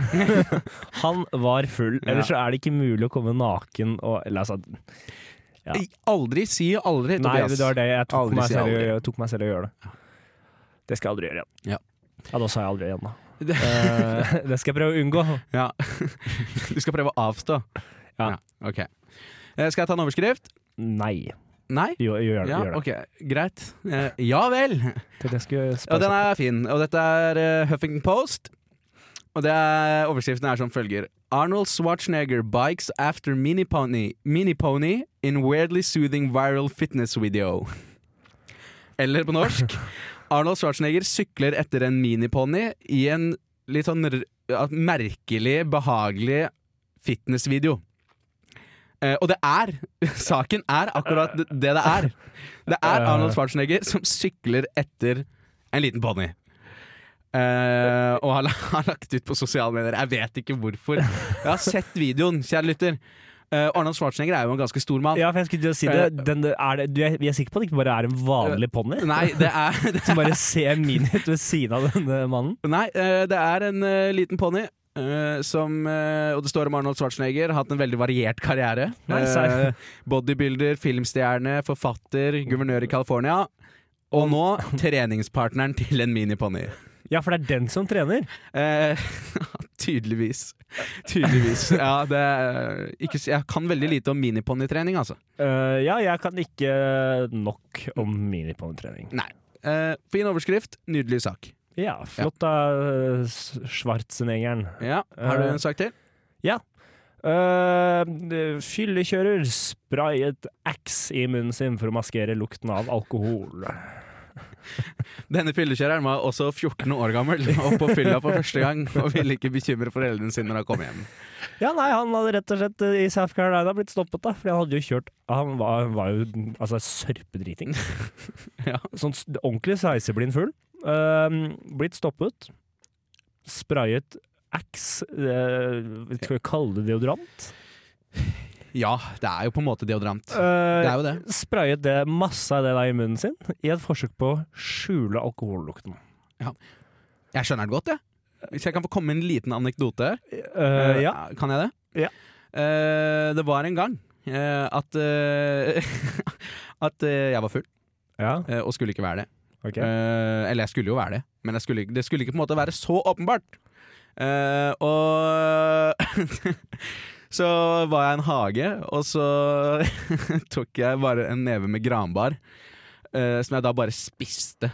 B: han var full.
E: Ja.
B: Ellers så er det ikke mulig å komme naken og Eller altså Ja.
E: Ei, Aldri si aldri,
B: Nei,
E: Tobias.
B: det var det. Jeg tok,
E: Aldri
B: meg
E: si
B: selv,
E: aldri.
B: i- jeg tok meg selv i å gjøre det. Det skal jeg aldri gjøre igjen.
E: Ja.
B: da sa jeg aldri igjen, da.
E: Det-
B: Eh, det skal jeg prøve å unngå.
E: Ja. Du skal prøve å avstå.
B: Ja.
E: Ok. Eh, Skal jeg ta en overskrift?
B: Nei.
E: Nei?
B: Gjør, gjør det.
E: Ja,
B: gjør det.
E: ok, greit. Eh, Ja vel!
B: Tenkte jeg skulle
E: Og
B: spørre
E: den
B: sånn.
E: er fin. Og dette er eh, Huffington Post. Og det er, overskriften er som følger. Arnold Schwarzenegger bikes after mini pony, mini pony in weirdly soothing viral fitness video. Eller på norsk. Arnold Schwarzenegger sykler etter en miniponni i en litt sånn r at- merkelig, behagelig fitnessvideo. Eh, og det er Saken er akkurat det det er. Det er Arnold Schwarzenegger som sykler etter en liten ponni. Eh, og har, la- har lagt ut på sosiale medier. Jeg vet ikke hvorfor. Jeg har sett videoen, kjære lytter. Eh, Arnold Schwarzenegger er jo en ganske stor mann.
B: Ja, for jeg skulle til å si det. Den, er det du er, vi er sikre på at det ikke bare er en vanlig ponni?
E: Eh, Nei, det er, det
B: Som bare ser min ut ved siden av denne mannen?
E: Nei, eh, det er en eh, liten ponni. eh, som, eh, og det står om Arnold Schwarzenegger, hatt en veldig variert karriere.
B: Nei, serr.
E: Eh, bodybuilder, filmstjerne, forfatter, guvernør i California. Og nå treningspartneren til en miniponni.
B: Ja, for det er den som trener.
E: Eh, tydeligvis. Tydeligvis. Ja, det er ikke, s- Jeg kan veldig lite om miniponnitrening, altså.
B: Eh, ja, jeg kan ikke nok om miniponnitrening.
E: Nei. Eh, fin overskrift, nydelig sak.
B: Ja, flott da, eh, Schwarzenegeren.
E: Ja, Har du en sak til?
B: Eh, fyllekjører sprayet Axe i munnen sin for å maskere lukten av alkohol.
E: Denne fyllekjøreren var også 14 år gammel og på fylla for første gang og ville ikke bekymre foreldrene sine når han kom hjem.
B: Ja, nei, han hadde rett og slett eh, i South Carolina blitt stoppet, da. Fordi han hadde jo kjørt Han var, han var jo altså sørpedriting.
E: Ja.
B: Sånn s- ordentlig sveiseblind full. Eh, blitt stoppet. Sprayet Axe, eh, skal vi kalle det deodorant?
E: Ja, det er jo på en måte deodorant.
B: Eh,
E: Det er jo det.
B: Sprayet det, masse av det da i munnen sin, i et forsøk på å skjule alkohollukten.
E: Jeg skjønner det godt, jeg. Hvis jeg kan få komme med en liten anekdote her.
B: Eh, ja.
E: Eh, Kan jeg det?
B: Ja.
E: Eh, det var en gang eh, at eh, At eh, jeg var full,
B: ja,
E: eh, og skulle ikke være det.
B: ok.
E: Eh, eller jeg skulle jo være det, men jeg skulle, ikke- det skulle ikke på en måte være så åpenbart. Eh, og så var jeg i en hage, og så tok jeg bare en neve med granbar, eh, som jeg da bare spiste.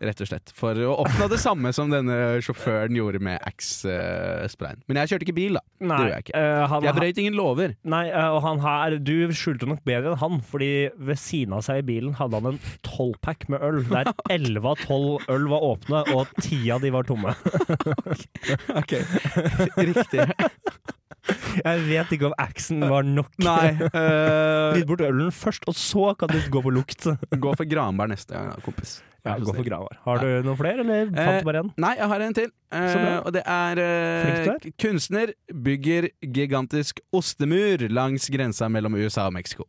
E: Rett og slett. For å oppnå det samme som denne sjåføren gjorde med Axe-sprayen. Men jeg kjørte ikke bil, da.
B: Nei,
E: gjorde jeg ikke.
B: eh, han,
E: Jeg brøyt ingen lover.
B: Nei, eh, og han her Du skjulte nok bedre enn han, fordi ved siden av seg i bilen hadde han en tolvpack med øl, der elleve av tolv øl var åpne, og ti av de var tomme.
E: Riktig.
B: Jeg vet ikke om axen var nok.
E: Nei. eh,
B: Dritt bort ølen først, og så kan du gå på lukt.
E: gå for granbar neste gang, da, kompis.
B: Ja,
E: Vær så
B: gå for
E: snill.
B: Gravar. Har du noen flere, eller
E: Eh,
B: fant du bare én?
E: Nei, jeg har en til. Eh,
B: Så bra.
E: og det er eh,
B: Flink du
E: Kunstner bygger gigantisk ostemur langs grensa mellom USA og Mexico.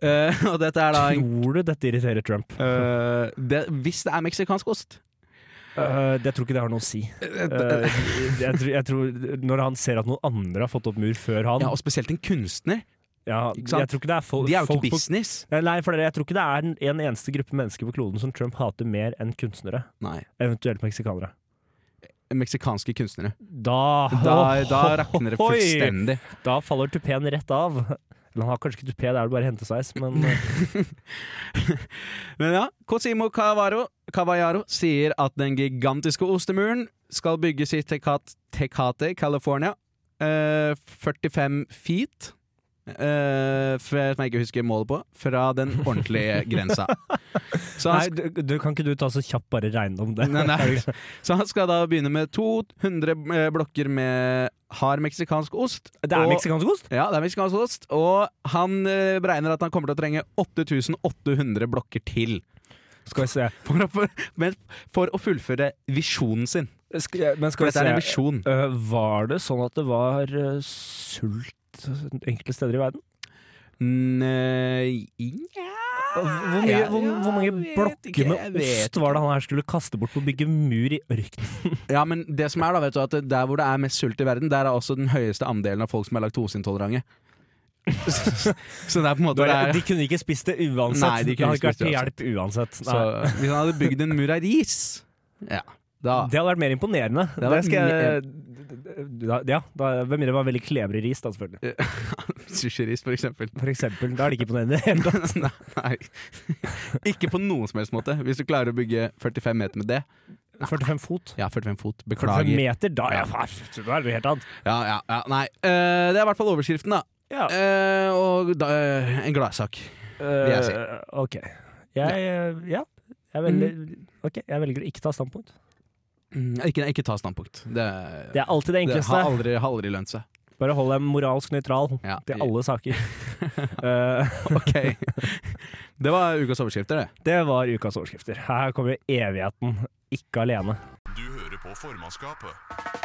E: Eh, og dette er da en,
B: Tror du dette irriterer Trump?
E: eh, det, Hvis det er meksikansk ost
B: Eh, jeg tror ikke det har noe å si. Eh, jeg, tror, jeg tror Når han ser at noen andre har fått opp mur før han
E: Ja, Og spesielt en kunstner
B: Ja,
E: Ikke sant?
B: jeg tror ikke det er fol- folk,
E: De er jo ikke
B: på-
E: business.
B: Eh, Nei, for dere, jeg tror ikke det er en, en eneste gruppe mennesker på kloden som Trump hater mer enn kunstnere.
E: Nei.
B: Eventuelt meksikanere.
E: Meksikanske kunstnere.
B: Da,
E: Da, da rakner det
B: Ohoi!
E: fullstendig.
B: Da faller tupeen rett av. Eller han har kanskje ikke tupé, det er det bare hentesveis, men
E: Men ja, Cosimo Cavaro, Cavallaro sier at den gigantiske ostemuren skal bygges i Tecat- Tecate, California. Eh, 45 feet, eh, for, som jeg ikke husker målet på, fra den ordentlige grensa.
B: eh,
E: Så
B: Nei,
E: han,
B: du, du, kan ikke du ta så kjapt bare regne om det?
E: Nei, nei. så han skal da begynne med 200 eh, blokker med hard meksikansk ost.
B: Det er
E: og-
B: meksikansk ost!
E: Ja, det er meksikansk ost. Og han eh, beregner at han kommer til å trenge 8800 blokker til.
B: Skal vi se.
E: For å, for, men for å fullføre visjonen sin.
B: Sk ja, men skal
E: For
B: vi
E: dette er en
B: se.
E: visjon.
B: Øh, var det sånn at det var øh, sult enkelte steder i verden?
E: Nei
B: Hvor, mye,
E: Ja,
B: hvor,
E: eh, ja,
B: hvor mange
E: jeg vet
B: blokker
E: ikke, jeg
B: med
E: vet
B: ost var det han her skulle kaste bort på å bygge mur i ørkenen?
E: Ja, men det som er da, vet du, at der hvor det er mest sult i verden, der er også den høyeste andelen av folk som er laktoseintolerante. så, så det er på en måte det er,
B: De kunne ikke spist det uansett.
E: Nei, de kunne
B: det hadde
E: ikke
B: ikke
E: spist
B: vært til hjelp uansett.
E: så,
B: Nei.
E: Hvis han hadde bygd en mur av ris Ja, da
B: Det hadde vært mer imponerende. Det
E: hadde vært
B: skal jeg, da, ja, da, hvem mindre det var veldig klebrig ris, da, selvfølgelig.
E: Sushiris, for eksempel.
B: For eksempel. Da er det ikke imponerende i det hele tatt.
E: Nei, nei. Ikke på noen som helst måte. Hvis du klarer å bygge 45 meter med det
B: 45 fot.
E: Ja, 45 fot.
B: 45
E: Beklager.
B: meter, da ja, faen, da er det jo helt annet.
E: Ja, ja, ja, nei. Eh, det er i hvert fall overskriften, da.
B: Ja,
E: Eh, og da, eh, en gladsak. jeg si.
B: øh, ok. Jeg, øh, ja, jeg velger, ok, jeg velger å ikke ta standpunkt.
E: Mm, Ikke, ikke ta standpunkt. Det,
B: Det er alltid det
E: det har
B: enkleste.
E: aldri, har aldri lønt seg.
B: Bare hold deg moralsk nøytral
E: Ja.
B: til alle saker. Eh,
E: Ok. Det var ukas overskrifter, det.
B: det var ukas overskrifter. Her kommer evigheten ikke alene.
A: Du hører på formannskapet.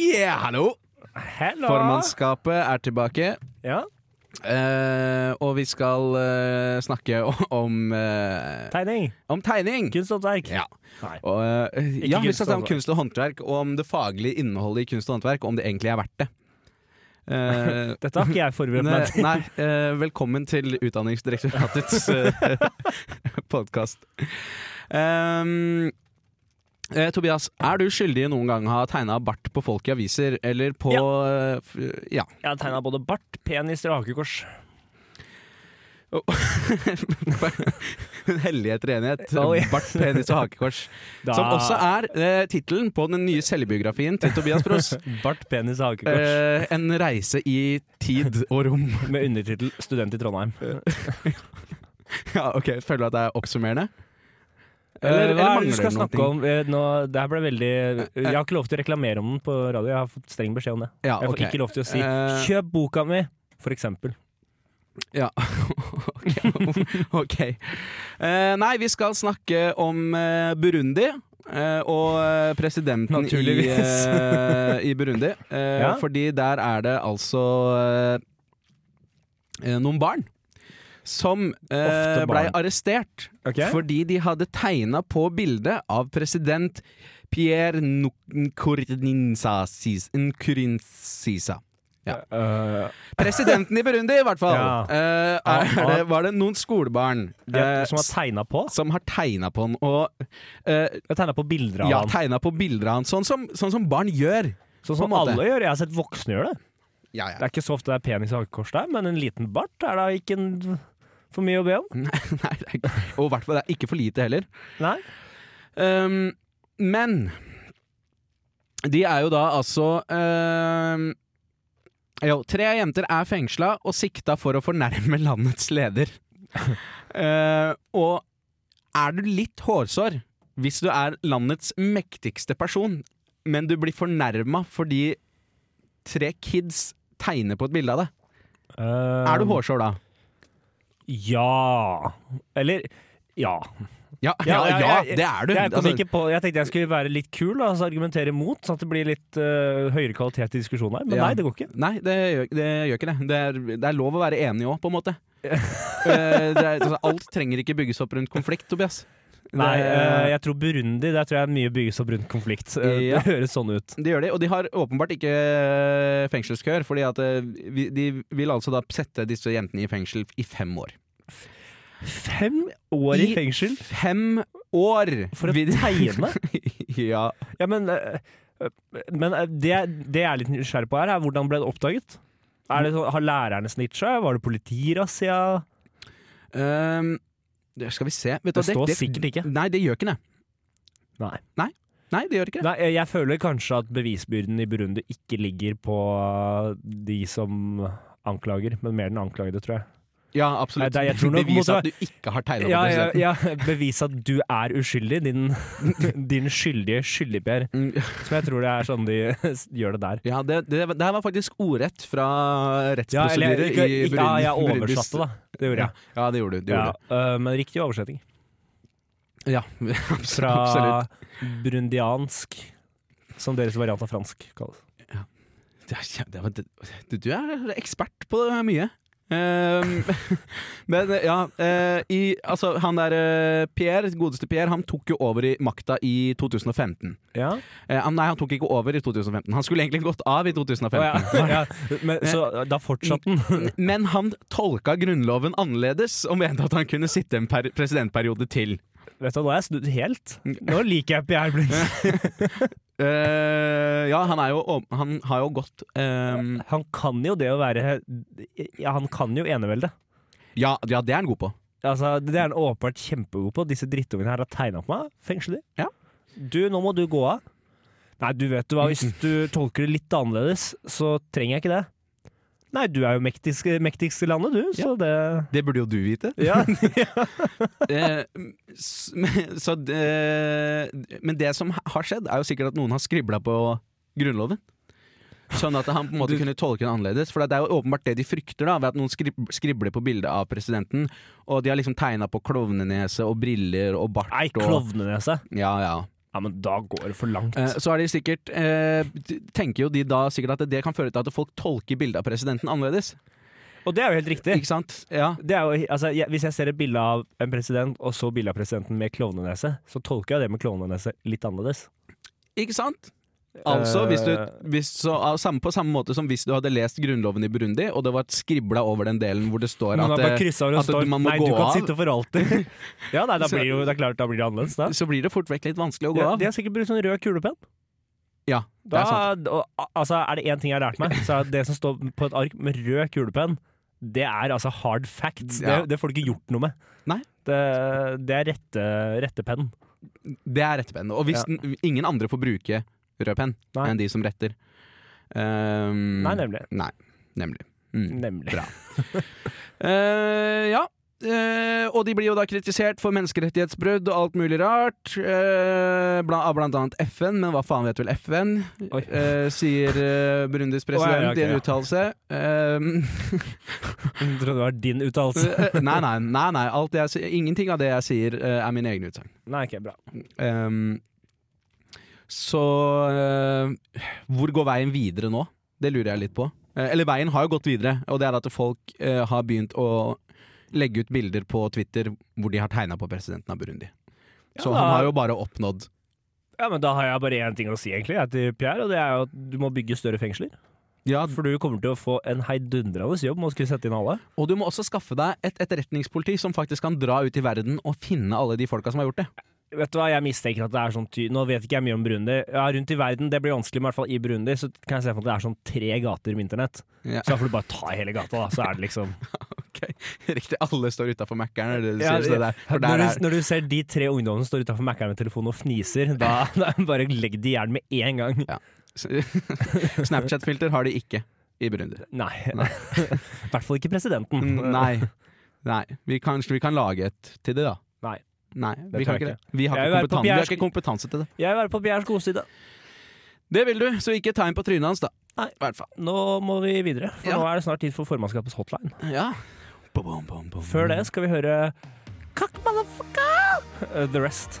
E: Yeah, hallo!
B: Hello!
E: Formannskapet er tilbake,
B: Ja,
E: eh, og vi skal eh, snakke o- om, eh,
B: tegning.
E: om tegning.
B: Kunsthåndverk.
E: Ja.
B: Nei.
E: Og, eh, ja, vi
B: kunst og
E: skal snakke om
B: håndverk.
E: kunst og håndverk, og om det faglige innholdet i kunst og håndverk, og om det egentlig er verdt det. Eh,
B: Dette har ikke jeg forberedt
E: Nei,
B: meg til.
E: nei eh, velkommen til Utdanningsdirektoratets eh, podkast. Ehm, eh, Tobias, er du skyldig i noen gang å ha tegna bart på folk i aviser, eller på eh, f- Ja.
B: Jeg har tegna både bart, penis og hakekors.
E: Hellighet og enighet.
B: Oh, ja.
E: Bart, penis og hakekors.
B: Da-
E: Som også er uh, tittelen på den nye selvbiografien til Tobias Pross.
B: Bart, penis og hakekors.
E: Eh, en reise i tid og rom.
B: Med undertittel 'Student i Trondheim'.
E: Eh, ja, ok, Føler du at det er oppsummerende?
B: Eh, hva er det
E: mangler
B: vi skal
E: det Eh, noen
B: snakke
E: ting?
B: om? Eh, Nå, det her ble veldig Jeg har ikke lov til å reklamere om den på radio, jeg har fått streng beskjed om det.
E: Ja,
B: Jeg får
E: ok.
B: ikke lov til å si
E: Eh,
B: 'kjøp boka mi', for eksempel.
E: Ja, ok. ok. Eh, nei, vi skal snakke om eh, Burundi. eh, og eh, presidenten i,
B: Naturligvis.
E: eh, i Burundi. Eh,
B: Ja.
E: Fordi der er det altså eh, eh, noen barn som uh,
B: Ofte
E: blei
B: barn.
E: arrestert
B: Ok.
E: fordi de hadde tegna på bildet av president Pierre Nkurinsisa.
B: Eh,
E: Presidenten i Burundi, i hvert fall.
B: Ja.
E: Eh, er det, var det noen skolebarn
B: de har-
E: eh,
B: som har tegna på?
E: som har tegna på han? Og eh,
B: Jeg tegna på bilder av
E: ja,
B: han.
E: tegna på bilder av han, sånn som, sånn som barn gjør.
B: Sånn
E: på en
B: som
E: måte.
B: alle gjør. Jeg har sett voksne gjøre det.
E: Ja,
B: Det er ikke så ofte det er penis og hakekors der, men en liten bart er da ikke en, for mye å be om.
E: Nei, det er, ikke- og i hvert fall det er ikke for lite heller.
B: Nei.
E: Um, men de er jo da altså um, Jo, tre jenter er fengsla og sikta for å fornærme landets leder. Eh, og er du litt hårsår hvis du er landets mektigste person, men du blir fornærma fordi tre kids tegner på et bilde av deg?
B: Eh,
E: Er du hårsår da?
B: Ja. Eller ja.
E: Ja, ja,
B: Ja, ja,
E: ja,
B: jeg-
E: det er du!
B: Jeg, kom
E: Altså,
B: ikke på, jeg tenkte jeg skulle være litt kul og altså argumentere mot, sånn at det blir litt eh, høyere kvalitet i diskusjonen her. Men
E: Ja.
B: nei, det går ikke.
E: Nei, det gjør, det gjør ikke det. Det er, det er lov å være enig òg, på en måte. Eh, det er, altså, alt trenger ikke bygges opp rundt konflikt, Tobias.
B: Nei, eh, jeg tror Burundi der tror jeg mye bygges opp rundt konflikt. Eh,
E: Ja.
B: Det høres sånn ut.
E: Det gjør de, og de har åpenbart ikke eh, fengselskøer, fordi at eh, vi- de vil altså da sette disse jentene i fengsel i fem år.
B: Fem år i fengsel
E: Fem år!
B: for å
E: vil-
B: tegne?
E: ja.
B: Ja, men, eh, eh, men eh, det, det jeg er litt nysgjerrig på her, er hvordan ble det oppdaget? Er det sånn, har lærerne snitcha? Var det politirazzia?
E: Ehm, det skal vi se Vet du
B: Det
E: hva,
B: står sikkert ikke.
E: Nei, det gjør ikke det.
B: Nei.
E: Nei, det gjør ikke det.
B: Nei, jeg- jeg føler kanskje at bevisbyrden i Burundi ikke ligger på uh, de som anklager, men mer den anklagede, tror jeg.
E: Ja, absolutt.
B: Nei, det- jeg tror nok
E: Bevise
B: måtte-
E: at du ikke har tegna
B: Ja,
E: på
B: ja,
E: presidenten.
B: ja, bevis at du er uskyldig, din, din skyldige skyldigper.
E: Mm,
B: Som jeg tror det er sånn de gjør det der.
E: Ja, det, det, det her var faktisk ordrett fra
B: Ja, eller,
E: rettsprosedyret
B: ikke,
E: i
B: ikke,
E: Burundi.
B: ja, jeg
E: Burundis-
B: oversatte, da. Det gjorde jeg.
E: Ja, det gjorde du. Det
B: Ja,
E: gjorde
B: øh, men riktig oversetting.
E: du. ja absolutt.
B: Fra
E: absolutt.
B: brundiansk, som deres variant av fransk kalles.
E: Det er kjem- det var- det- Du, du er ekspert på mye. Ehm, men ja eh, i, Altså, han der eh, Pierre, godeste Pierre, han tok jo over i makta i 2015.
B: Ja.
E: Eh, han- nei, han tok ikke over i 2015. Han skulle egentlig gått av i 2015.
B: Å, ja. ja. Men, så da fortsatte den.
E: Men han tolka grunnloven annerledes og mente at han kunne sitte en per presidentperiode til.
B: Vet du, hva, nå er jeg snudd helt.
E: Mm.
B: Nå liker jeg Pierre Blix.
E: Eh, ja, han, er jo, åp- han har jo gått ehm,
B: Han kan jo det å være Ja, han kan jo eneveldet.
E: ja, ja, det er han god på.
B: Altså, det er han åpenbart kjempegod på. Disse drittungene her har tegna på meg. Fengsel de.
E: Ja.
B: Du, nå må du gå av. Nei, du vet du hva, hvis du tolker det litt annerledes, så trenger jeg ikke det. Nei, du er jo mektigst mektigst i landet, du, så det
E: Det burde jo du vite.
B: Ja.
E: Eh, s- men- så det, men det som har skjedd, er jo sikkert at noen har skribla på Grunnloven. Sånn at han på en måte kunne tolke den annerledes. For det er jo åpenbart det de frykter, da, ved at noen skrib skribler på bildet av presidenten. Og de har liksom tegna på klovnenese og briller og bart.
B: Nei,
E: og,
B: klovnenese.
E: ja, ja.
B: Ja, men da går det for langt.
E: Eh, Så er de sikkert eh, t- Tenker jo de da sikkert at det kan føre til at folk tolker bildet av presidenten annerledes.
B: Og det er jo helt riktig.
E: Ikke sant? Ja,
B: Det er jo, altså, jeg, hvis jeg ser et bilde av en president, og så bilde av presidenten med klovnenese, så tolker jeg det med klovnenese litt annerledes.
E: ikke sant? Altså, hvis du,
B: Eh.
E: hvis så, av samme, På samme måte som hvis du hadde lest Grunnloven i Burundi, og det var skribla over den delen hvor det står
B: Man
E: at,
B: har bare
E: eh,
B: kryssa over og
E: at du-
B: står
E: man må
B: Nei,
E: gå
B: du kan
E: av.
B: sitte for alltid. ja, nei, da
E: Så-
B: blir jo, det er klart, da blir det annerledes, da.
E: så blir det fort vekk litt vanskelig å gå
B: Ja,
E: av.
B: de har sikkert brukt sånn rød kulepenn.
E: Ja, det
B: Da,
E: er sant.
B: og, altså, er det én ting jeg har lært meg, så er det det som står på et ark med rød kulepenn, det er altså hard facts.
E: Ja.
B: Det, det får du ikke gjort noe med.
E: Nei.
B: Det, det er rette, rette penn.
E: Det er rettepenn. Og hvis
B: Ja.
E: den, ingen andre får bruke rød penn
B: Nei.
E: enn de som retter. Um,
B: Nei, nemlig.
E: Nei, nemlig. Mm.
B: Nemlig.
E: Bra. Eh, ja. Eh, og de blir jo da kritisert for menneskerettighetsbrudd og alt mulig rart. Eh, bla, av blant annet FN, men hva faen vet vel FN?
B: Oi.
E: Eh, sier eh, Burundis president
B: Å, ja, ja, ok,
E: i en
B: ja.
E: uttalelse.
B: Jeg trodde det var din uttalelse.
E: Eh, nei, nei, nei, nei alt det jeg, sier- ingenting av det jeg sier, eh, er mine egne utsagn.
B: Nei, ok, bra.
E: Ehm, så eh, hvor går veien videre nå? Det lurer jeg litt på. Eh, eller veien har jo gått videre, og det er at folk eh, har begynt å legge ut bilder på Twitter hvor de har tegna på presidenten av Burundi.
B: Ja,
E: så
B: da-
E: han har jo bare oppnådd
B: Ja, men Da har jeg bare én ting å si egentlig, jeg til Pierre, og det er jo at du må bygge større fengsler.
E: ja,
B: For du kommer til å få en heidundrende jobb med å skulle sette inn alle.
E: Og du må også skaffe deg et etterretningspoliti som faktisk kan dra ut i verden og finne alle de folka som har gjort det.
B: Vet du hva, jeg mistenker at det er sånn ty Nå vet ikke jeg mye om Burundi. Ja, rundt i verden, det blir vanskelig, men i hvert fall i Burundi så kan jeg se for meg at det er sånn tre gater med internett.
E: Ja.
B: Så da får du bare ta hele gata, da. Så er det liksom
E: Ok, Riktig, alle står utafor Mækkern. er det du
B: Ja,
E: sier, så det der- for der
B: når,
E: er-
B: du, når du ser de tre ungdommene som står utafor Mækkern med telefonen og fniser, da, da bare legg de i hjernen med en gang.
E: Snapchat-filter har de ikke i Burundi.
B: Nei. I hvert fall ikke presidenten.
E: Mm, Nei. Nei. Vi, kanskje vi kan lage et til det, da.
B: Nei.
E: Nei,
B: tror
E: vi kan
B: jeg
E: ikke det. Vi har
B: Jeg
E: ikke,
B: vil være
E: kompetanse. vi har
B: papirsk-
E: ikke kompetanse til det.
B: Jeg vil være på Bjerrs godside.
E: Det vil du, så ikke tegn på trynet hans, da.
B: Nei.
E: I hvert fall.
B: Nå må vi videre, for
E: Ja.
B: nå er det snart tid for formannskapets hotline.
E: Ja. Bom, bom, bom, bom.
B: Før det skal vi høre Cock motherfucker! Uh, The Rest.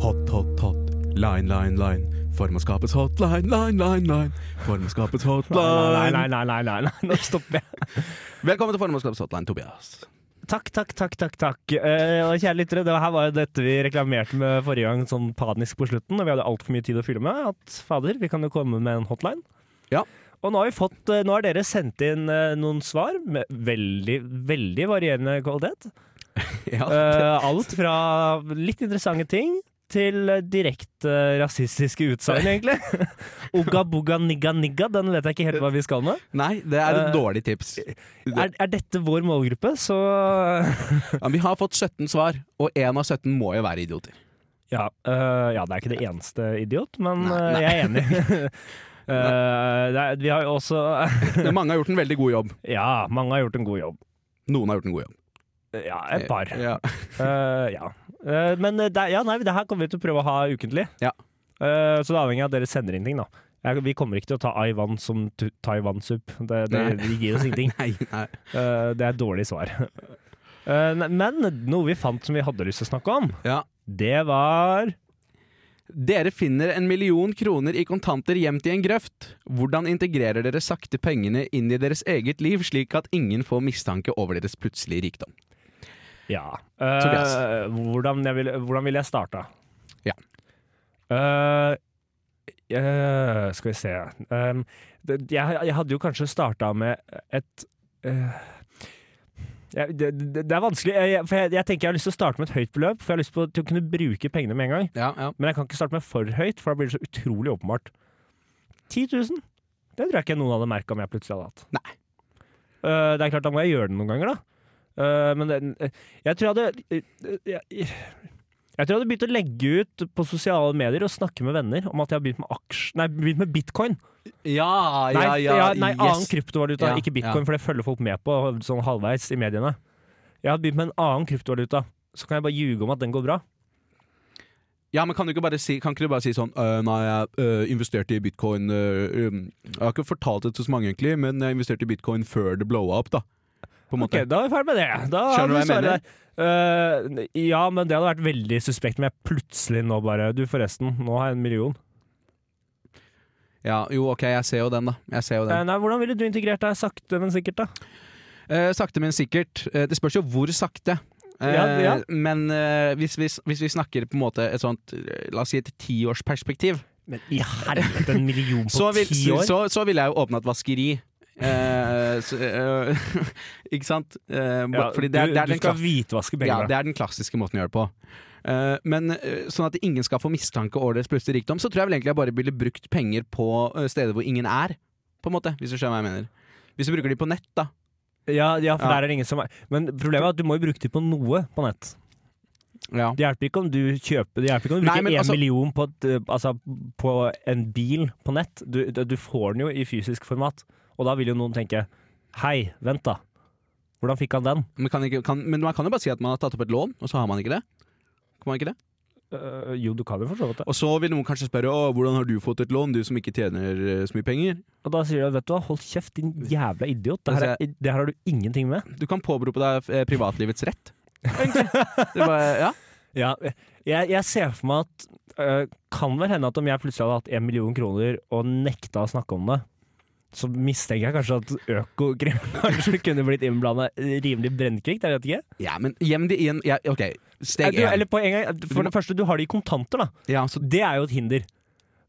E: Hot, hot, hot. Line, line, line. Formannskapets hotline, line, line, line. Formannskapets hotline.
B: Nei, nei, nei, nei, nei, nei. nå stopper jeg.
E: Velkommen til formannskapets hotline, Tobias.
B: Takk, takk, takk. takk, takk. Eh, og kjære lyttere, det her var jo dette vi reklamerte med forrige gang, sånn panisk på slutten, og vi hadde altfor mye tid å fylle med. At fader, vi kan jo komme med en hotline.
E: Ja.
B: Og nå har, vi fått, eh, nå har dere sendt inn eh, noen svar med veldig, veldig varierende kvalitet.
E: Ja,
B: Eh, alt fra litt interessante ting til eh, direkte rasistiske utsagn, egentlig. Ugga bugga nigga nigga, den vet jeg ikke helt hva vi skal med.
E: Nei, det er et
B: Eh,
E: dårlig tips.
B: Er, er dette vår målgruppe, så
E: Ja, vi har fått 17 svar, og én av 17 må jo være idioter.
B: Ja, øh, ja, det er ikke det eneste idiot, men
E: Nei,
B: øh,
E: nei.
B: jeg er enig. Øh, det er, vi har jo også
E: Men Mange har gjort en veldig god jobb.
B: Ja, mange har gjort en god jobb.
E: Noen har gjort en god jobb.
B: Ja,
E: Eh,
B: et par.
E: Ja.
B: Øh, ja. Øh, men det, er- ja, nei, det her kommer vi til å prøve å ha ukentlig.
E: Ja.
B: Øh, så det avhenger av at dere sender inn ting, da. Jeg, vi kommer ikke til å ta Ivan som tu- Taiwan-supp. Det,
E: Nei.
B: det, det gir oss ingenting.
E: Nei, nei.
B: Øh, det er et dårlig svar. Øh, ne- men noe vi fant som vi hadde lyst til å snakke om,
E: Ja.
B: det var
E: Dere finner en million kroner i kontanter gjemt i en grøft. Hvordan integrerer dere sakte pengene inn i deres eget liv, slik at ingen får mistanke over deres plutselige rikdom?
B: Ja.
E: Tobias.
B: Eh, hvordan, jeg vil, hvordan vil jeg starte?
E: Ja.
B: Eh, eh, skal vi se Em, det, jeg, jeg hadde jo kanskje starta med et eh, jeg- det, det, det er vanskelig, jeg, jeg- for jeg, jeg tenker jeg har lyst til å starte med et høyt beløp. For jeg har lyst på, til å kunne bruke pengene med en gang.
E: Ja, ja.
B: Men jeg kan ikke starte med for høyt, for da blir det så utrolig åpenbart. 10 000. Det tror jeg ikke noen hadde merka om jeg plutselig hadde hatt.
E: Nei.
B: Eh, det er klart, da må jeg gjøre det noen ganger, da. Eh, men det, eh, jeg tror jeg hadde eh, jeg, jeg, jeg tror jeg hadde begynt å legge ut på sosiale medier og snakke med venner om at jeg har begynt med, aksj, nei, begynt med bitcoin.
E: Ja,
B: Nei,
E: ja, ja,
B: ja, nei annen
E: yes.
B: kryptovaluta,
E: Ja,
B: ikke bitcoin,
E: ja.
B: for det følger folk med på sånn halvveis i mediene. Jeg hadde begynt med en annen kryptovaluta, så kan jeg bare ljuge om at den går bra.
E: Ja, men kan du ikke bare si, kan ikke du bare si sånn «Øh, Nei, jeg øh, investerte i bitcoin øh, um, Jeg har ikke fortalt det til så mange, egentlig, men jeg investerte i bitcoin før det blowa opp, da. På en måte.
B: Ok, da er vi ferdig med det. Da
E: Skjønner du
B: har
E: hva
B: vi
E: jeg
B: svaret der. Eh, ja, men det hadde vært veldig suspekt om jeg plutselig nå bare Du, forresten, nå har jeg en million.
E: Ja, jo, ok, jeg ser jo den, da. Jeg ser jo den.
B: Eh, nei, hvordan ville du integrert deg sakte, men sikkert, da?
E: Eh, sakte, men sikkert. Eh, det spørs jo hvor sakte. Eh,
B: Ja, ja.
E: Men eh, hvis, vi, hvis vi snakker på en måte et sånt eh, La oss si et tiårsperspektiv,
B: Men i helvete, en million på
E: så, vil,
B: ti år?
E: så, så vil jeg jo åpne et vaskeri. Eh, så, eh, ikke sant? Eh,
B: ja,
E: fordi det er, det, er
B: du, du
E: den
B: skal
E: klass-
B: hvitvaske
E: ja,
B: penger.
E: det er den klassiske måten å gjøre det på. Eh, men eh, sånn at ingen skal få mistanke over deres plutselige rikdom, så tror jeg vel egentlig jeg bare ville brukt penger på eh, steder hvor ingen er, på en måte. Hvis du skjønner hva jeg mener. Hvis du bruker de på nett, da.
B: ja, ja, for
E: Ja.
B: der er det ingen som er Men problemet er at du må jo bruke de på noe på nett.
E: Ja.
B: Det hjelper ikke om du kjøper Det hjelper ikke om du
E: Nei,
B: bruker
E: men
B: én
E: altså-
B: million på, et, eh, altså, på en bil på nett. Du, du får den jo i fysisk format, og da vil jo noen tenke Hei, vent da. Hvordan fikk han den?
E: Men, kan ikke, kan, men man kan jo bare si at man har tatt opp et lån, og så har man ikke det. Kan man ikke det?
B: Øh, jo, du kan jo for så vidt det.
E: Og så vil noen kanskje spørre Å, hvordan har du fått et lån, du som ikke tjener eh, så mye penger.
B: Og da sier du vet du hva, hold kjeft, din jævla idiot. Det her, er, det her har du ingenting med.
E: Du kan påberope deg eh, privatlivets rett. Egentlig. Det er bare, ja.
B: Ja, jeg, jeg ser for meg at øh, kan vel hende at om jeg plutselig hadde hatt en million kroner og nekta å snakke om det, så mistenker jeg kanskje at Økokrim kanskje kunne blitt innblanda rimelig brennkvikt, jeg vet ikke.
E: ja, men gjem det i en ja, OK,
B: Eh,
E: steg
B: Du,
E: én.
B: eller på en gang,
E: Du må-
B: for det første, du har det i kontanter, da.
E: Ja, så-
B: Det er jo et hinder.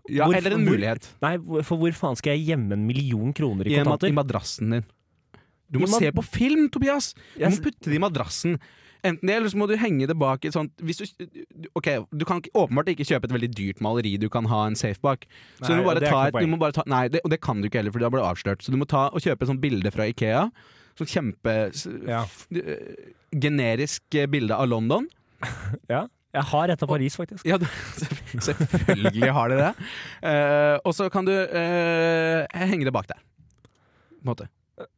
E: ja,
B: hvorfor-
E: eller en
B: hvor-
E: mulighet.
B: Nei, hvor- for hvor faen skal jeg gjemme en million kroner i
E: I, en,
B: kontanter?
E: I madrassen din. Du
B: I
E: må
B: mad-
E: se på film, Tobias! Du
B: Jeg
E: må
B: s-
E: putte det i madrassen. Enten det, eller så må du henge det bak et sånt hvis du, Ok, du kan ikke- åpenbart ikke kjøpe et veldig dyrt maleri du kan ha en safe bak. Så
B: Nei,
E: du må bare
B: det er
E: ta
B: ikke
E: et
B: noe
E: du må bare ta, Nei, det, og det kan du ikke heller, for da blir det avslørt. Så du må ta og kjøpe et sånt bilde fra Ikea. Sånn kjempe s-
B: Ja.
E: f- øh, Generisk eh, bilde av London.
B: Ja. Jeg har et av Paris, faktisk.
E: Ja, du, selvfø- selvfølgelig har de det. Eh, og så kan du eh, henge det bak der. På en måte.
B: Eh,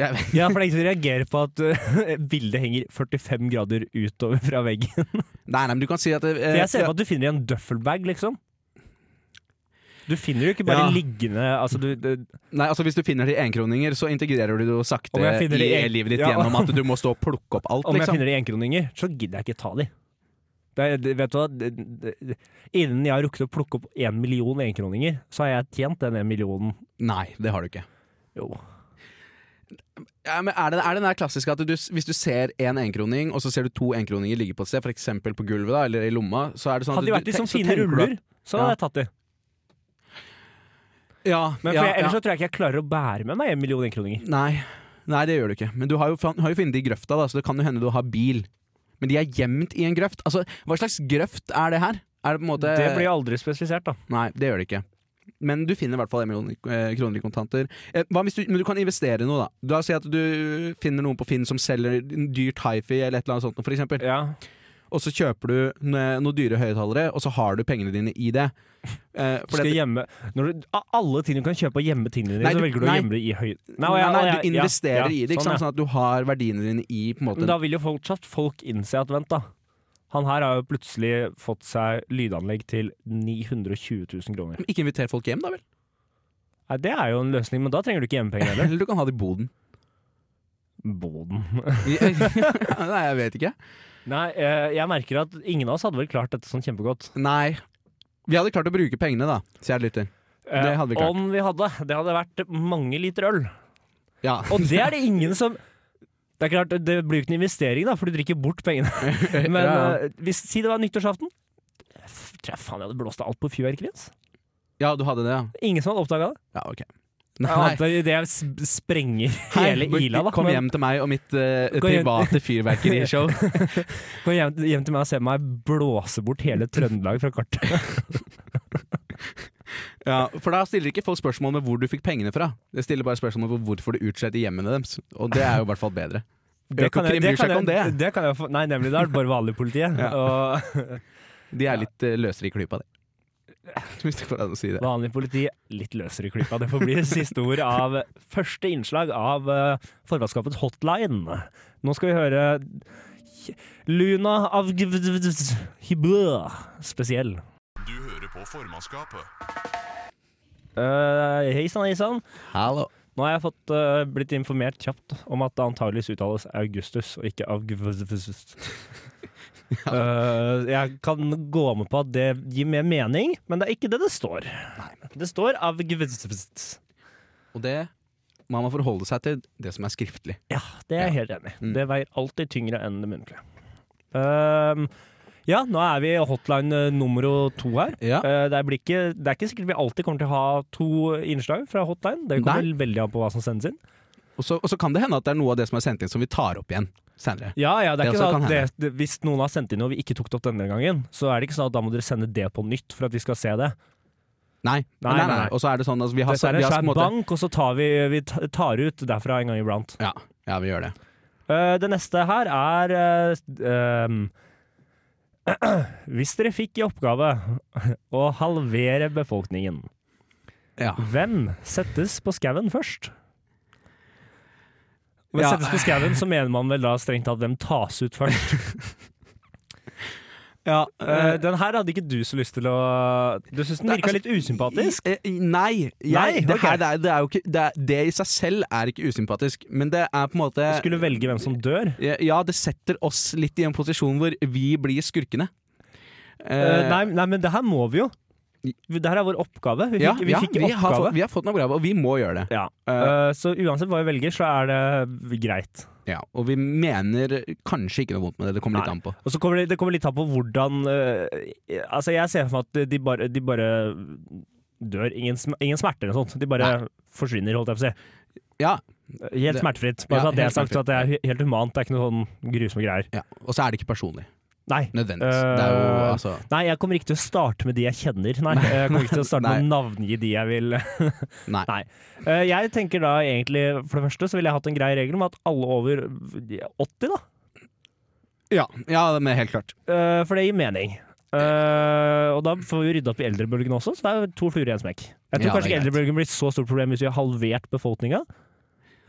E: Jeg,
B: Ja, for det er ingen som reagerer på at uh, bildet henger 45 grader utover fra veggen.
E: Nei, nei, men du kan si at det, eh,
B: For jeg ser for meg at du finner i en duffelbag, liksom. Du finner det jo ikke bare
E: Ja.
B: liggende altså du, det,
E: Nei, altså Hvis du finner de enkroninger, så integrerer du det jo sakte
B: Om jeg
E: i
B: finner de en-
E: livet ditt
B: Ja.
E: gjennom at du må stå og plukke opp alt.
B: Om jeg
E: liksom.
B: finner det i enkroninger, så gidder jeg ikke ta de. Det, er- det, vet du hva? Det, det, det, innen jeg har rukket å plukke opp én million enkroninger, så har jeg tjent den én millionen.
E: Nei, det har du ikke.
B: Jo.
E: Ja, men er, det, er det den der klassiske at du, hvis du ser én enkroning, og så ser du to enkroninger ligge på et sted, f.eks. på gulvet da, eller i lomma så er det sånn at
B: Hadde de
E: du-
B: vært i
E: du-
B: sånne liksom
E: så
B: fine
E: tenker du at-
B: ruller, så hadde
E: Ja.
B: jeg tatt de.
E: Ja,
B: Men for
E: ja,
B: jeg, ellers
E: ja.
B: så tror jeg ikke jeg klarer å bære med meg en million enkroninger.
E: Nei, nei, det gjør du ikke. Men du har jo, fan- har jo funnet de i grøfta, da, så det kan jo hende du har bil. Men de er gjemt i en grøft. Altså, Hva slags grøft er det her? Er det på en måte
B: Det blir jo aldri spesifisert, da.
E: Nei, det gjør det ikke. Men du finner i hvert fall en million eh, kroner i kontanter. Eh, Hva hvis du, men du kan investere i noe, da. Da Si at du finner noen på Finn som selger dyrt hifi eller et eller annet sånt, for eksempel.
B: Ja.
E: Og så kjøper du n- noen dyre høyttalere, og så har du pengene dine i det. Eh,
B: Skal
E: dette-
B: gjemme Når du, av alle ting du kan kjøpe og gjemme tingene dine,
E: Nei,
B: så
E: du-
B: velger du å
E: nei.
B: gjemme det i høy...
E: nei,
B: ja,
E: nei,
B: ja,
E: du
B: ja,
E: investerer
B: ja,
E: i det, ikke
B: sånn,
E: sant?
B: ja.
E: sånn at du har verdiene dine i på en måte
B: Men da vil jo fortsatt folk innse at vent, da. Han her har jo plutselig fått seg lydanlegg til 920 000 kroner.
E: Men Ikke inviter folk hjem, da vel?
B: Nei, det er jo en løsning, men da trenger du ikke hjemmepenger heller.
E: Eller du kan ha det i boden.
B: Boden.
E: Ja, Nei, jeg vet ikke.
B: Nei, eh, jeg merker at ingen av oss hadde vel klart dette sånn kjempegodt.
E: Nei. Vi hadde klart å bruke pengene, da, kjære lytter.
B: Eh,
E: Det hadde vi klart.
B: Om vi hadde. Det hadde vært mange liter øl.
E: Ja.
B: Og det er det ingen som Det er klart, det blir jo ikke en investering, da, for du drikker bort pengene. Men
E: ja.
B: eh, hvis, si det var nyttårsaften. Jeg f- tror jeg faen jeg hadde blåst av alt på fyrverkeriet. ass.
E: ja, du hadde det, ja.
B: Ingen som hadde oppdaga det.
E: Ja, ok.
B: Annet enn Det jeg sp- sprenger
E: Hei,
B: hele
E: Burk,
B: ila, da.
E: Kom
B: Men
E: hjem til meg og mitt eh,
B: Gå hjem.
E: private fyrverkerishow.
B: Kom hjem, hjem til meg og se meg blåse bort hele Trøndelag fra kartet.
E: ja, for da stiller ikke folk spørsmål med hvor du fikk pengene fra. Det stiller bare spørsmål om hvorfor du utskjelte hjemmene deres. Og det er jo i hvert fall bedre. Økokrim bryr seg ikke om det.
B: det kan jeg få Nei, nemlig. Det er det bare vanlig politi.
E: Ja.
B: Og
E: De er litt eh, løsere i klypa, de. Hvis det går an å si det.
B: vanlig politi, litt løsere i klypa. Det får bli siste ord av første innslag av eh, formannskapets hotline. Nå skal vi høre Luna av Hibø spesiell.
A: Du hører på formannskapet.
B: Uh, hei sann, hei sann.
E: Hallo.
B: Nå har jeg fått, eh, blitt informert kjapt om at det antageligvis uttales Augustus og ikke Augustus. Eh, jeg kan gå med på at det gir mer mening, men det er ikke det det står. Det står Augustus.
E: Og det Man må forholde seg til det som er skriftlig.
B: Ja, Mm. det er jeg helt enig i. Det veier alltid tyngre enn det muntlige. Ehm, ja, nå er vi i hotline eh, nummer to her.
E: Ja.
B: Eh, det, blir ikke, det er ikke sikkert vi alltid kommer til å ha to innslag fra hotline. Det kommer
E: Nei.
B: veldig an på hva som sendes inn.
E: Og så, og så kan det hende at det er noe av det som er sendt inn, som vi tar opp igjen senere.
B: Ja, ja, det er
E: Det
B: ikke
E: også
B: sånn at
E: kan
B: det,
E: hende.
B: det, Hvis noen har sendt inn noe vi ikke tok det opp denne gangen, så er det ikke sånn at da må dere sende det på nytt for at vi skal se det.
E: Nei.
B: Nei,
E: nei, nei,
B: nei, nei.
E: Og så er det sånn altså, vi har,
B: Dette er
E: vi
B: en
E: har på
B: svær
E: en måte-
B: bank, og så tar vi, vi ta- tar ut derfra en gang iblant.
E: Ja, ja, vi gjør det.
B: Eh, det neste her er eh, ehm, Hvis dere fikk i oppgave å halvere befolkningen,
E: Ja.
B: hvem settes på skauen først? Hvem
E: Ja.
B: settes på skauen, så mener man vel da strengt tatt hvem tas ut først. Eh, den her hadde ikke du så lyst til å Du syns den
E: Nei,
B: virka
E: altså,
B: litt usympatisk?
E: Eh, Nei. Jeg,
B: Nei,
E: det,
B: ok.
E: her, det, er, det er jo ikke det, er, det i seg selv er ikke usympatisk, men det er på en måte
B: Du skulle velge hvem som dør?
E: Ja, det setter oss litt i en posisjon hvor vi blir skurkene.
B: Eh, nei, nei, men det her må vi jo. Det her er vår oppgave. Vi fikk,
E: ja,
B: vi
E: ja,
B: fikk
E: vi, har
B: oppgave.
E: fått, vi har fått en oppgave, og vi må gjøre det.
B: ja.
E: Eh.
B: Eh, så uansett hva vi velger, så er det greit.
E: Ja, og vi mener kanskje ikke noe vondt med det, det kommer litt
B: Nei.
E: an på.
B: Og så kommer det, det kommer litt an på hvordan eh, Altså, jeg ser for meg at de bare, de bare dør. Ingen, sm- ingen smerter eller noe sånt. De bare forsvinner, holdt jeg på å si.
E: Ja,
B: Helt
E: Det-
B: smertefritt. Bare
E: Ja,
B: så at det er
E: helt
B: sagt, så at det er he- helt humant. Det er ikke noe sånn grusomme greier.
E: ja. Og så er det ikke personlig.
B: Nei.
E: Nødvendigvis. det er jo
B: Eh,
E: altså
B: Nei, jeg kommer ikke til å starte med de jeg kjenner. Nei, Eh, jeg kommer ikke til å starte med å navngi de jeg vil
E: Nei.
B: Nei. Eh, Jeg tenker da egentlig, for det første så ville jeg hatt en grei regel om at alle over 80, da.
E: Ja, ja men helt klart.
B: Eh, For det gir mening. Eh, og da får vi rydda opp i eldrebølgen også, så det er jo to fluer i en smekk. Jeg tror
E: Ja, det er
B: kanskje ikke
E: greit.
B: eldrebølgen blir et så stort problem hvis vi har halvert befolkninga,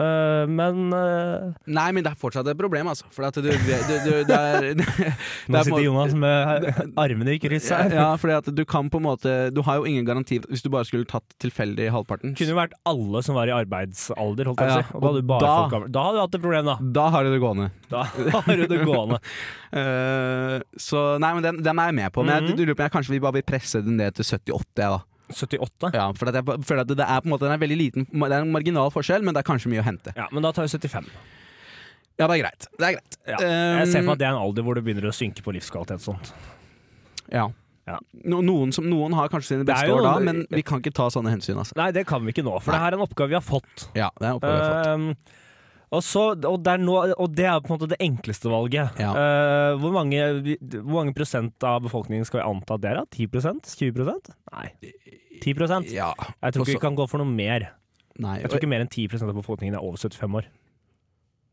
B: Eh, men eh,
E: Nei, men det er fortsatt et problem, altså. For at du, du, du, det er, det er på
B: Nå
E: en
B: sitter
E: måte-
B: Jonas med armene i kryss her.
E: Ja, fordi at du kan på en måte Du har jo ingen garanti hvis du bare skulle tatt tilfeldig halvparten.
B: Det kunne jo vært alle som var i arbeidsalder, holdt jeg på å si.
E: Ja,
B: Og da hadde du
E: og
B: bare
E: da-
B: folk gamle. Da hadde du hatt et problem, da.
E: Da har du det gående.
B: Da har du det gående.
E: Mhm. Eh, så nei, men den, den er jeg med på. Men jeg lurer på om jeg kanskje vi bare vil presse den ned til 78, jeg, da.
B: 78?
E: Ja, for at jeg ba- føler at det er på en måte det er en veldig liten Det er en marginal forskjell, men det er kanskje mye å hente.
B: Ja, men da tar vi 75.
E: Ja, det er greit. Det er greit.
B: Ja.
E: Um,
B: Jeg ser for meg at det er en alder hvor det begynner å synke på livskvalitet. og sånt.
E: ja.
B: Ja.
E: No, noen, som, noen har kanskje sine
B: Det
E: beste
B: er jo-
E: år da, men vi kan ikke ta sånne hensyn, altså.
B: Nei, det kan vi ikke nå, for
E: Nei.
B: det her er en oppgave vi har fått.
E: Ja, det er oppgave vi har fått.
B: Ehm, og, så, og, det er nå, og det er på en måte det enkleste valget.
E: Ja.
B: Eh, hvor, mange, hvor mange prosent av befolkningen skal vi anta at det er? da? 10 20 Nei. 10 Jeg
E: Eh, Ja.
B: tror ikke
E: også-
B: vi kan gå for noe mer.
E: Nei.
B: Jeg tror ikke mer enn 10 av befolkningen er over 75 år.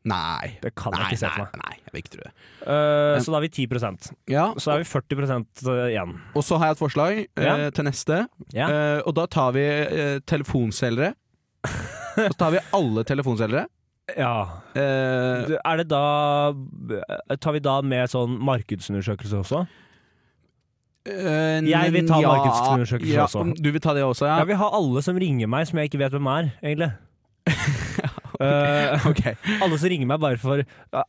E: Nei.
B: Det kan
E: Nei,
B: jeg ikke se
E: nei,
B: for meg.
E: nei, jeg vil ikke tro det.
B: Eh, så da er vi 10 Så
E: Ja,
B: er vi 40 igjen.
E: og så har jeg et forslag eh,
B: Ja.
E: til neste.
B: Ja.
E: Eh, og da tar vi eh, telefonselgere. og så tar vi alle telefonselgere.
B: ja.
E: Eh,
B: Er det da eh, Tar vi da med sånn markedsundersøkelse også?
E: eh,
B: Jeg vil ta
E: ja,
B: markedsundersøkelse
E: ja,
B: også.
E: Du vil ta det også,
B: Ja,
E: ja?
B: vi har alle som ringer meg som jeg ikke vet hvem er, egentlig. Eh,
E: Ok.
B: alle som ringer meg bare for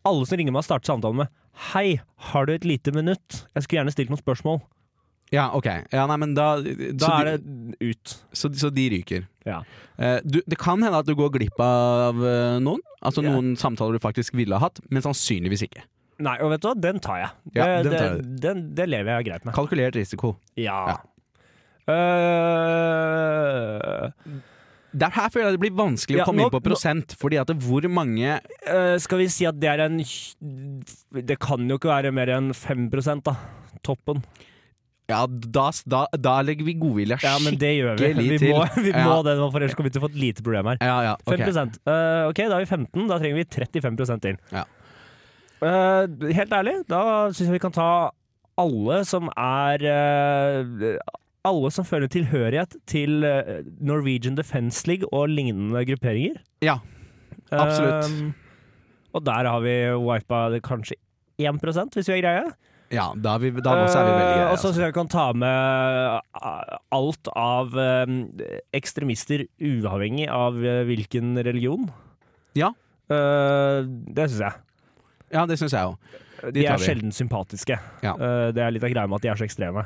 B: Alle som ringer meg starter samtalen med Hei, har du et lite minutt? Jeg skulle gjerne stilt noen spørsmål.
E: Ja, ok. Ja, nei, men da,
B: Da
E: så,
B: er
E: de,
B: det ut.
E: så, så de ryker.
B: Ja.
E: Eh, du, det kan hende at du går glipp av eh, noen. Altså
B: Ja.
E: noen samtaler du faktisk ville ha hatt, men sannsynligvis ikke.
B: Nei, og vet du hva, den tar jeg. Det,
E: Ja, den
B: det,
E: tar
B: den, det lever jeg greit med.
E: Kalkulert risiko.
B: Ja.
E: Ja.
B: Eh,
E: Der her føler jeg det blir vanskelig
B: Ja,
E: å komme
B: nå-
E: inn på prosent, fordi at det, hvor mange
B: eh, skal vi si at det er en Det kan jo ikke være mer enn 5 da. Toppen.
E: Ja, da, da, da legger vi godvilja
B: Ja, men det gjør vi.
E: Skikkelig
B: Vi må,
E: til.
B: vi må
E: Ja.
B: det nå, for ellers kommer vi til å få et lite problem her.
E: Ja, ja, ok.
B: 5 Eh, Ok, da er vi 15. Da trenger vi 35 til.
E: Ja.
B: Eh, helt ærlig, da syns jeg vi kan ta alle som er eh, Alle som føler tilhørighet til eh, Norwegian Defence League og lignende grupperinger.
E: Ja, absolutt.
B: Eh, og der har vi wipa det kanskje 1 hvis vi er greie.
E: ja da, er vi, da også er vi veldig
B: Eh,
E: greie.
B: Og så
E: Altså.
B: syns jeg vi kan ta med eh, alt av eh, ekstremister, uavhengig av eh, hvilken religion.
E: Ja.
B: Eh, det syns jeg.
E: Ja, det syns jeg òg.
B: De
E: tar
B: er
E: vi.
B: sjelden sympatiske.
E: Ja.
B: Eh, det er litt av greia med at de er så ekstreme.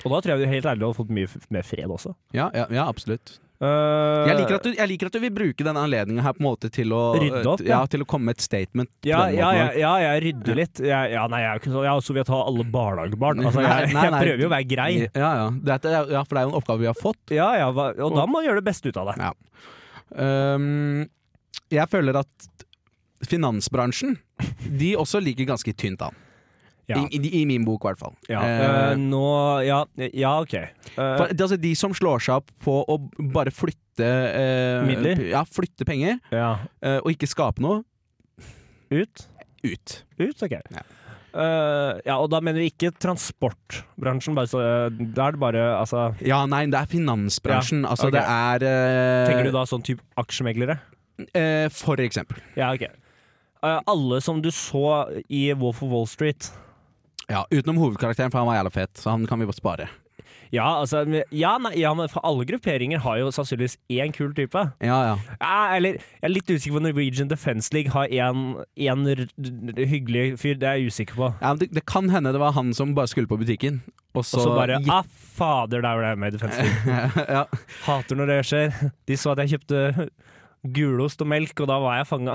B: Og da tror jeg vi helt ærlig hadde fått mye f- mer fred også.
E: Ja, ja, ja, absolutt.
B: Eh,
E: Jeg liker, at du, jeg liker at du vil bruke denne anledninga her på en måte til å eh,
B: Rydde opp,
E: ja.
B: ja.
E: til å komme med et statement. på
B: ja,
E: den måten
B: ja, ja,
E: også.
B: ja, jeg rydder litt. Jeg, ja, nei, jeg er jo ikke sånn Jeg er også vil ta alle barnehagebarn. Altså,
E: Nei,
B: jeg,
E: nei,
B: jeg
E: nei.
B: prøver jo å være grei.
E: Ja, ja. Dette er- ja, for det er jo en oppgave vi har fått.
B: Ja, ja, hva- og da må jeg gjøre det beste ut av det.
E: Ja. Ehm, jeg føler at finansbransjen de også ligger ganske tynt an.
B: Ja,
E: I, i, I min bok, i hvert fall.
B: ja.
E: Eh,
B: Eh, nå Ja, ja OK. Eh,
E: for, det, altså, de som slår seg opp på å bare flytte eh,
B: Midler?
E: p- Ja, flytte penger,
B: ja.
E: eh, og ikke skape noe,
B: Ut?
E: ut.
B: Ut, ok.
E: Ja.
B: Eh, ja, og da mener vi ikke transportbransjen, bare så eh, Da er det bare altså
E: Ja, nei, det er finansbransjen. Altså,
B: ok.
E: det er eh,
B: Tenker du da sånn type aksjemeglere?
E: eh, For eksempel.
B: Ja, ok. Eh, alle som du så i Wolf of Wall Street
E: Ja, utenom hovedkarakteren, for han var jævla fet, så han kan vi bare spare.
B: Ja, altså Ja, nei, ja men for alle grupperinger har jo sannsynligvis én kul type.
E: Ja, ja.
B: Ja, eller jeg er litt usikker på Norwegian Defence League har én én r- r- hyggelig fyr. Det er jeg usikker på.
E: ja men det, det kan hende det var han som bare skulle på butikken, og så
B: Og så bare
E: gikk-
B: Ah, fader, der var det med i Defence League.
E: ja.
B: Hater når det skjer. De så at jeg kjøpte gulost og melk, og da var jeg fanga.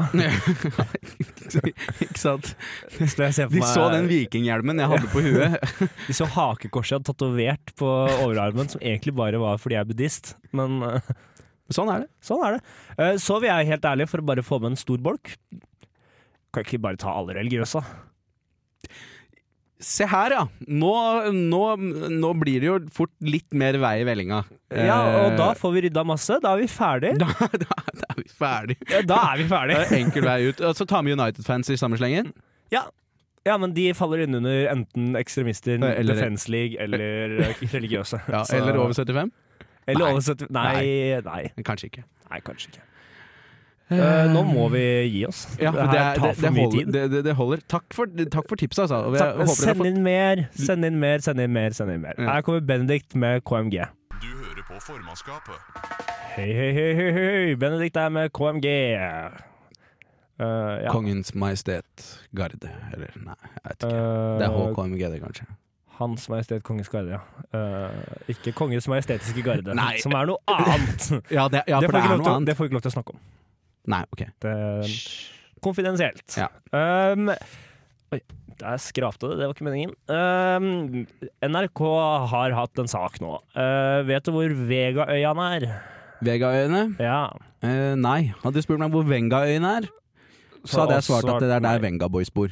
E: Ikke sant?
B: Så jeg ser for
E: De
B: meg-
E: så den vikinghjelmen jeg hadde på huet.
B: De så hakekorset jeg hadde tatovert på overarmen, som egentlig bare var fordi jeg er buddhist. Men eh,
E: Sånn er det.
B: Sånn er det. Eh, Så vil jeg helt ærlig, for å bare få med en stor bolk Kan ikke bare ta alle religiøse, da?
E: Se her, ja. Nå, nå, nå blir det jo fort litt mer vei i vellinga.
B: Ja, og da
E: Eh,
B: får vi rydda masse. Da er vi ferdig.
E: da, Eh, da, da er vi ferdig.
B: Ja, Da er vi ferdig.
E: Enkel vei ut. Og Så tar vi United-fans i samme slengen.
B: Ja, men de faller inn under enten ekstremister,
E: Eh, eller-
B: Defence League eller eh, religiøse.
E: Ja,
B: Så-
E: eller over 75.
B: Eller
E: Nei.
B: over 70 Nei, nei.
E: Kanskje ikke.
B: Nei, kanskje ikke. Eh, nå må vi gi oss.
E: Ja,
B: det her tar for mye
E: holder,
B: tid.
E: Det, det, det holder. Takk for, takk for tipset, altså. Og jeg
B: Ta-
E: håper dere
B: Send
E: får-
B: inn mer, send inn mer, send inn mer. send inn mer
E: Ja.
B: Her kommer Benedikt med KMG.
A: Du hører på formannskapet.
B: Hei, hei, hei, hei, hei. Benedikt er med KMG. Eh, ja.
E: Kongens Majestet Garde. Eller nei, jeg vet ikke. Det er
B: Eh,
E: HKMG, det, kanskje.
B: Hans Majestet Kongens Garde, ja. Eh, ikke Kongens Majestetiske Garde,
E: Nei.
B: som er noe annet!
E: Ja, det, ja
B: det,
E: for
B: får
E: det
B: ikke lov
E: er noe
B: til, det får
E: annet.
B: vi ikke lov til å snakke om.
E: Nei, ok.
B: Det er konfidensielt.
E: Ja.
B: Um, oi, der skrapte det. Det var ikke meningen. Um, NRK har hatt en sak nå. Uh, vet du hvor Vegaøyene er?
E: Vegaøyene?
B: Ja.
E: Eh, nei. Hadde du spurt meg hvor Vengaøyene er, så hadde jeg svart at det er der Vengaboys bor.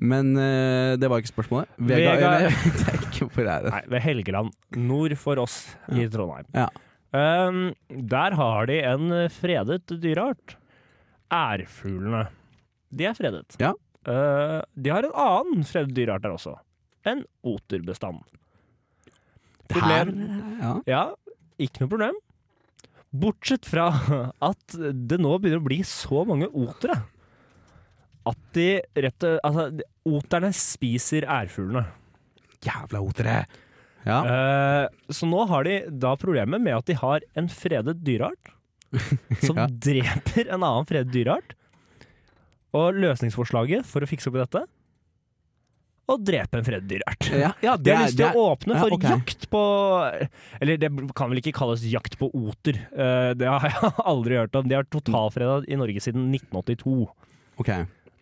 E: Men eh, det var ikke spørsmålet. Vegaøyene vet jeg ikke hvor er det.
B: Nei, ved Helgeland. Nord for oss i Trondheim.
E: Ja.
B: Um, der har de en fredet dyreart. Ærfuglene. De er fredet.
E: Ja.
B: Uh, de har en annen fredet dyreart der også. En oterbestand.
E: Her?
B: Problem-
E: Ja.
B: Ja, ikke noe problem. Bortsett fra at det nå begynner å bli så mange otere at de rett og Altså, de- oterne spiser ærfuglene.
E: Jævla otere! Ja.
B: Eh, så nå har de da problemet med at de har en fredet dyreart som
E: Ja.
B: dreper en annen fredet dyreart. Og løsningsforslaget for å fikse opp i dette å drepe en fredet dyreart.
E: Ja, ja,
B: De
E: det
B: har
E: er,
B: lyst
E: det
B: til
E: er,
B: å åpne
E: ja,
B: for
E: ok.
B: jakt på Eller det kan vel ikke kalles jakt på oter. Eh, Det har jeg aldri hørt om. De har totalfreda i Norge siden 1982.
E: ok.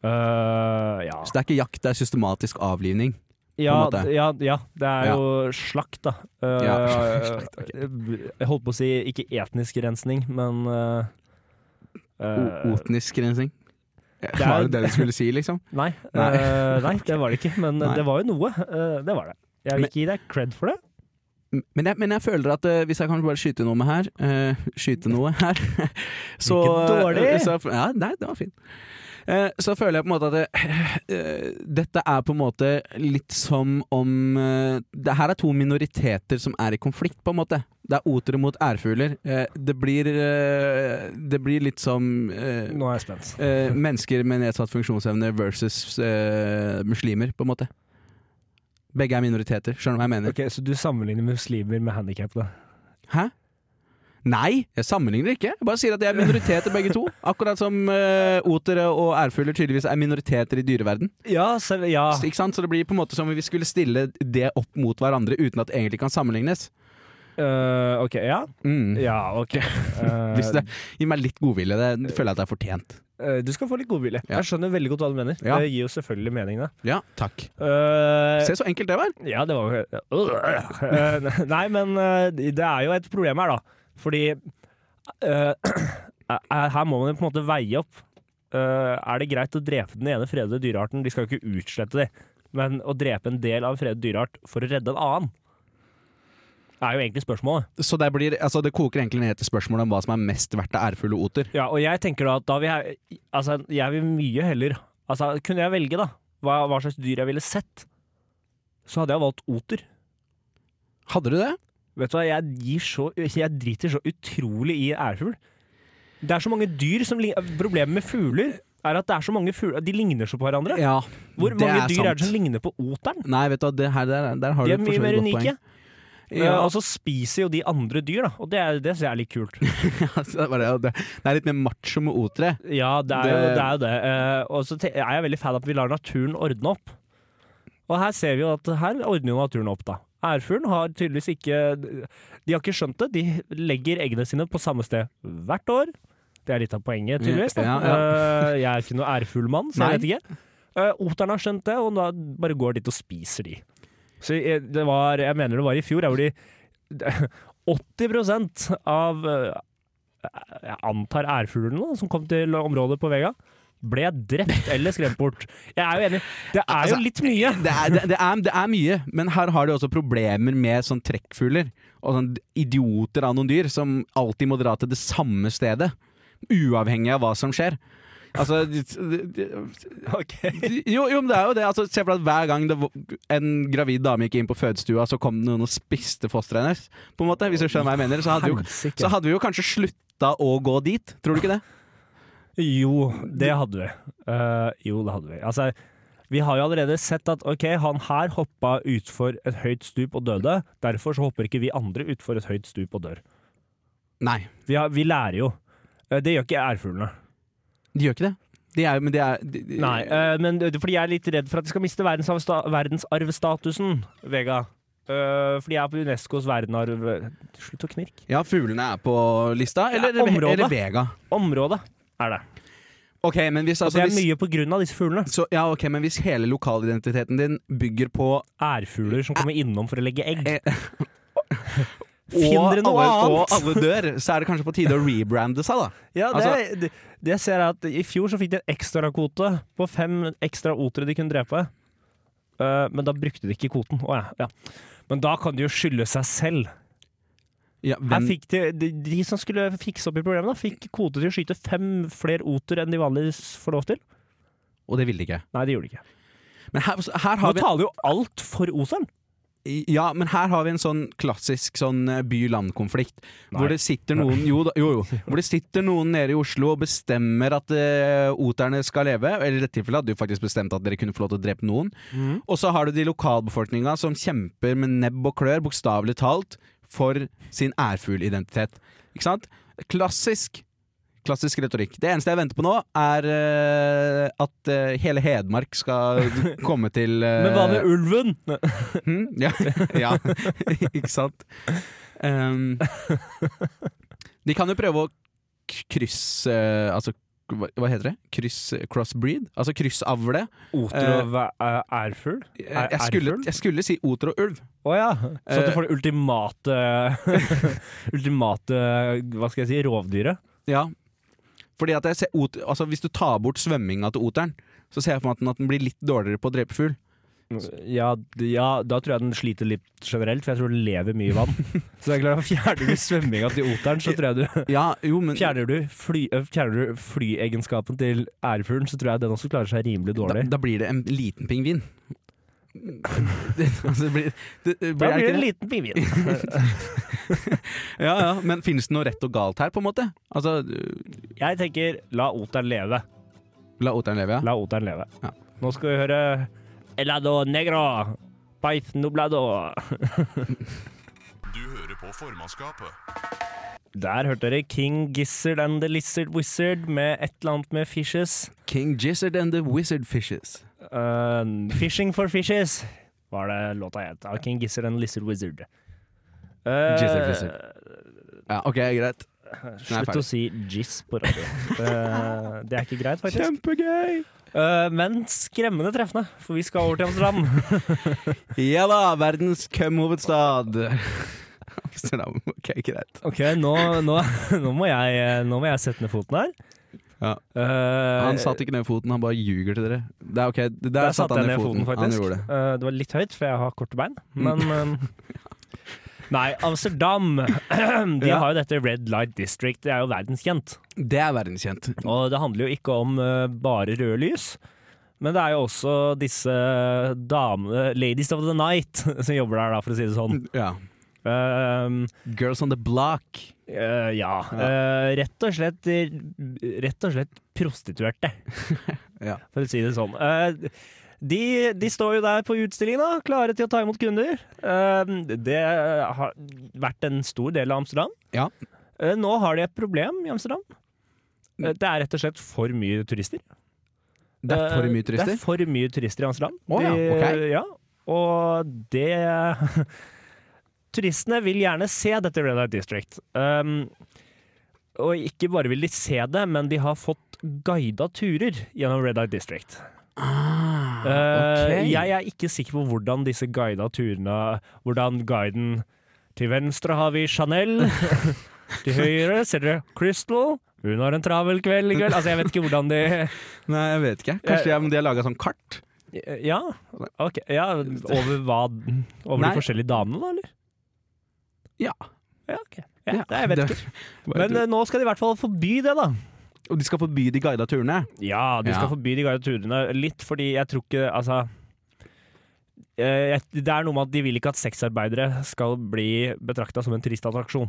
B: Eh, ja.
E: Så det er ikke jakt, det er systematisk avlivning.
B: Ja,
E: på en måte.
B: ja, ja, det er
E: Ja.
B: jo slakt, da. Eh,
E: Ja, slakt,
B: Jeg holdt på å si ikke etnisk rensning, men eh, eh,
E: O- Otnisk rensing.
B: er-
E: Var det det du skulle si, liksom?
B: Nei,
E: Nei.
B: eh, nei, det var det ikke. Men
E: Nei.
B: det var jo noe. eh, det var det. Jeg vil
E: Men-
B: ikke gi deg cred for det.
E: Men jeg, men jeg føler at eh, hvis jeg kan bare skyte noe med her eh, Skyte noe her så, eh,
B: Ikke dårlig.
E: Så, ja, nei, det var fint. Eh, så føler jeg på en måte at det, eh, dette er på en måte litt som om eh, Det her er to minoriteter som er i konflikt, på en måte. Det er otere mot ærfugler. Eh, det, blir, eh, det blir litt som eh,
B: Nå er jeg spent.
E: eh, mennesker med nedsatt funksjonsevne versus eh, muslimer, på en måte. Begge er minoriteter, skjønner du hva jeg mener?
B: Ok, Så du sammenligner muslimer med handikappede?
E: Hæ? Nei, jeg sammenligner ikke. Jeg bare sier at de er minoriteter begge to. Akkurat som eh, otere og ærfugler tydeligvis er minoriteter i dyreverden.
B: Ja, selv, ja.
E: Så, ikke sant? Så det blir på en måte som om vi skulle stille det opp mot hverandre uten at det egentlig kan sammenlignes.
B: Eh, ok, ja.
E: Mm.
B: Ja, ok. Eh,
E: Hvis det Gi meg litt godvilje. Det føler jeg at det er fortjent.
B: eh, du skal få litt godvilje.
E: Ja.
B: Jeg skjønner veldig godt hva du mener.
E: Ja.
B: Det gir jo selvfølgelig mening, det.
E: Ja, takk.
B: Eh,
E: Se så enkelt det var.
B: Ja, det var jo Eh, Nei, men eh, det er jo et problem her, da. Fordi eh, eh, her må man jo på en måte veie opp. Eh, er det greit å drepe den ene fredede dyrearten? De skal jo ikke utslette de. Men å drepe en del av en fredet dyreart for å redde en annen, er jo egentlig spørsmålet.
E: Så det, blir, altså, det koker egentlig ned til spørsmålet om hva som er mest verdt av ærfugl og oter.
B: Ja, og jeg tenker da at da vil jeg Altså, jeg vil mye heller Altså, kunne jeg velge, da, hva, hva slags dyr jeg ville sett, så hadde jeg valgt oter.
E: Hadde du det?
B: Vet du hva, jeg, gir så, jeg driter så utrolig i ærfugl. Det er så mange dyr som ligner Problemet med fugler er at det er så mange fugler De ligner så på hverandre.
E: Ja.
B: Hvor mange dyr
E: sant.
B: er det som ligner på oteren?
E: Nei, vet du hva, det her, der, der har
B: De er
E: du for
B: mye
E: så vidt
B: mer
E: godt
B: unike.
E: poeng.
B: Eh, og så spiser jo de andre dyr, da. Og det, er- det syns jeg er litt kult.
E: Altså, det, er bare, det, det er litt mer macho med otere.
B: Ja, det er jo det. Er jo det. Eh, og så te- er jeg veldig fan av at vi lar naturen ordne opp. Og her ser vi jo at her ordner jo naturen opp, da. Ærfuglen har tydeligvis ikke De har ikke skjønt det. De legger eggene sine på samme sted hvert år. Det er litt av poenget, tydeligvis. Da.
E: Ja,
B: Eh, jeg er ikke noen ærfuglmann, så jeg vet ikke. Uh, Oteren har skjønt det, og da bare går dit og spiser de. Så jeg, det var, jeg mener det var i fjor, jeg, hvor de 80 av eh, jeg antar ærfuglene da, som kom til området på Vega, ble drept eller skremt bort. Jeg er jo enig. Det er jo
E: Altså,
B: litt mye.
E: Det er, det, det, er, det er mye, men her har de også problemer med sånn trekkfugler. Og sånn idioter av noen dyr som alltid må dra til det samme stedet. Uavhengig av hva som skjer. Altså det- det- Jo, jo men det er jo det. Altså, se for deg at hver gang det, var- en gravid dame gikk inn på fødestua, så kom det noen og spiste fosteret hennes. På en måte, hvis du skjønner hva jeg mener. Så hadde, jo, så hadde vi jo kanskje slutta å gå dit. Tror du ikke det?
B: Jo, det hadde vi. Eh, jo, det hadde vi. Altså, vi har jo allerede sett at ok, han her hoppa utfor et høyt stup og døde. Derfor så hopper ikke vi andre utfor et høyt stup og dør.
E: Nei,
B: Vi, har, vi lærer jo. Eh, Det gjør ikke ærfuglene.
E: de gjør ikke det. Det er, men det er de, de-
B: Nei, eh, men det- fordi jeg er litt redd for at de skal miste verdensarvsta- verdensarvstatusen, Vega. Eh, fordi jeg er på Unescos verdenarv... Slutt å knirke.
E: Ja, fuglene er på lista, eller,
B: Ja, området.
E: eller Vega.
B: Området er det.
E: Ok, men hvis,
B: Og
E: altså,
B: det er
E: hvis,
B: mye på grunn av disse fuglene.
E: så, ja, ok, men hvis hele lokalidentiteten din bygger på
B: Ærfugler som kommer innom for å legge egg.
E: Eh,
B: Finn
E: og
B: dere noe
E: alle,
B: annet!
E: og alle dør, så er det kanskje på tide å rebrande seg, da.
B: Ja, det,
E: altså-
B: det, det ser jeg at I fjor så fikk de en ekstrakvote på fem ekstra otere de kunne drepe. Eh, men da brukte de ikke kvoten. Å, ja, ja. Men da kan de jo skylde seg selv.
E: Ja,
B: Her
E: hvem,
B: fikk de, de, de som skulle fikse opp i problemet, da, fikk kvote til å skyte fem flere oter enn de vanligvis får lov til.
E: og det ville de ikke.
B: Nei, det gjorde de ikke.
E: Men her, altså, her
B: Nå
E: har vi
B: taler jo alt for oteren.
E: Ja, men her har vi en sånn klassisk sånn eh, by-land-konflikt. Hvor det sitter noen jo, da, jo, jo. Hvor det sitter noen nede i Oslo og bestemmer at eh, oterne skal leve. Eller i dette tilfellet hadde du faktisk bestemt at dere kunne få lov til å drepe noen.
B: Mhm.
E: Og så har du de lokalbefolkninga som kjemper med nebb og klør, bokstavelig talt, for sin ærfuglidentitet. Ikke sant? Klassisk. Klassisk retorikk. Det eneste jeg venter på nå, er eh, at eh, hele Hedmark skal komme til eh,
B: Men hva med ulven?
E: Hmm? Ja. ja, ikke sant? Ehm, de kan jo prøve å k- krysse eh, Altså, hva hva heter det? Kryss, crossbreed? Altså kryssavle.
B: Oter og væ- æ- ærfugl?
E: Jeg,
B: Er-
E: jeg, skulle,
B: ærfugl?
E: jeg skulle si oter og ulv.
B: Å ja. Så at
E: Eh.
B: du får det ultimate Ultimate Hva skal jeg si? Rovdyret?
E: Ja. Fordi at jeg ser ot, altså Hvis du tar bort svømminga til oteren, så ser jeg for meg at den, at den blir litt dårligere på å drepe fugl.
B: Ja, d- ja, da tror jeg den sliter litt generelt, for jeg tror den lever mye i vann. Så det er klart, fjerner du svømminga til oteren, så tror jeg du
E: Ja, jo, men
B: Fjerner du, fly, øh, fjerner du flyegenskapen til ærfuglen, så tror jeg den også klarer seg rimelig
E: da,
B: dårlig.
E: da blir det en liten pingvin. Det, altså, det blir, det, det,
B: Da
E: er
B: blir
E: ikke
B: det en liten pingvin.
E: Ja, ja, Men finnes det noe rett og galt her, på en måte? Altså, øh,
B: Jeg tenker la oteren leve.
E: La oteren leve, ja.
B: La oteren leve.
E: Ja.
B: Nå skal vi høre Elado negro. Paif nublado.
A: Du hører på formannskapet.
B: Der hørte dere King Gizzard and the Lizard Wizard med et eller annet med fishes.
E: King Gizzard and the Wizard Fishes.
B: Eh, fishing for fishes var det låta het. Av King Gizzard and Lizard Wizard. Eh,
E: Gizzard Wizard. Ja, OK, greit.
B: Slutt
E: ferdig.
B: å si jizz på radio. Eh, det er ikke greit, faktisk.
E: Kjempegøy!
B: Eh, men skremmende treffende, for vi skal over til Amsterdam.
E: Ja da, verdens kømhovedstad. Amsterdam. OK, greit.
B: Ok, nå, nå, nå, må jeg, nå må jeg sette ned foten her.
E: Ja.
B: Eh,
E: Han satte ikke ned foten, han bare ljuger til dere. Det er OK, der,
B: Der
E: satte han ned foten. han gjorde det. Mm.
B: Eh, det var litt høyt, for jeg har korte bein, men eh, Nei, Amsterdam De
E: Ja.
B: har jo dette Red Light District. Det er jo verdenskjent.
E: Det er verdenskjent.
B: Og det handler jo ikke om eh, bare røde lys. Men det er jo også disse damene Ladies of the Night som jobber der, da, for å si det sånn.
E: Ja. Mm.
B: Eh,
E: Girls on the block.
B: eh, ja. Eh, rett og slett Rett og slett prostituerte,
E: Ja.
B: for å si det sånn. Eh, de, de står jo der på utstillinga, klare til å ta imot kunder. Eh, det har vært en stor del av Amsterdam.
E: Ja.
B: Eh, nå har de et problem i Amsterdam. Eh, det er rett og slett for mye turister.
E: Det er for
B: Eh,
E: mye
B: Det
E: turister.
B: er for mye turister i Amsterdam.
E: Å ja,
B: De-
E: ok.
B: ja, og det Turistene vil gjerne se dette Red Light District. Um, og ikke bare vil de se det, men de har fått guida turer gjennom Red Light District.
E: Ah,
B: Eh,
E: ok.
B: Jeg er ikke sikker på hvordan disse guida turene Hvordan guiden Til venstre har vi Chanel. til høyre ser dere Crystal. Hun har en travel kveld i kveld. Altså, jeg vet ikke hvordan de
E: Nei, jeg vet ikke. Kanskje jeg- de har laga sånn kart?
B: Eh, Ja, ok ja, Over hva? Over
E: Nei.
B: de forskjellige damene, da, eller?
E: Ja.
B: Ja, ok ja, det, Jeg vet ikke.
E: Bare
B: Men eh, nå skal de i hvert fall forby det, da.
E: Og de skal forby de guida turene.
B: Ja, de skal
E: Ja.
B: forby de garantyrene litt, fordi jeg tror ikke Altså eh, jeg- det er noe med at de vil ikke at sexarbeidere skal bli betrakta som en turistattraksjon.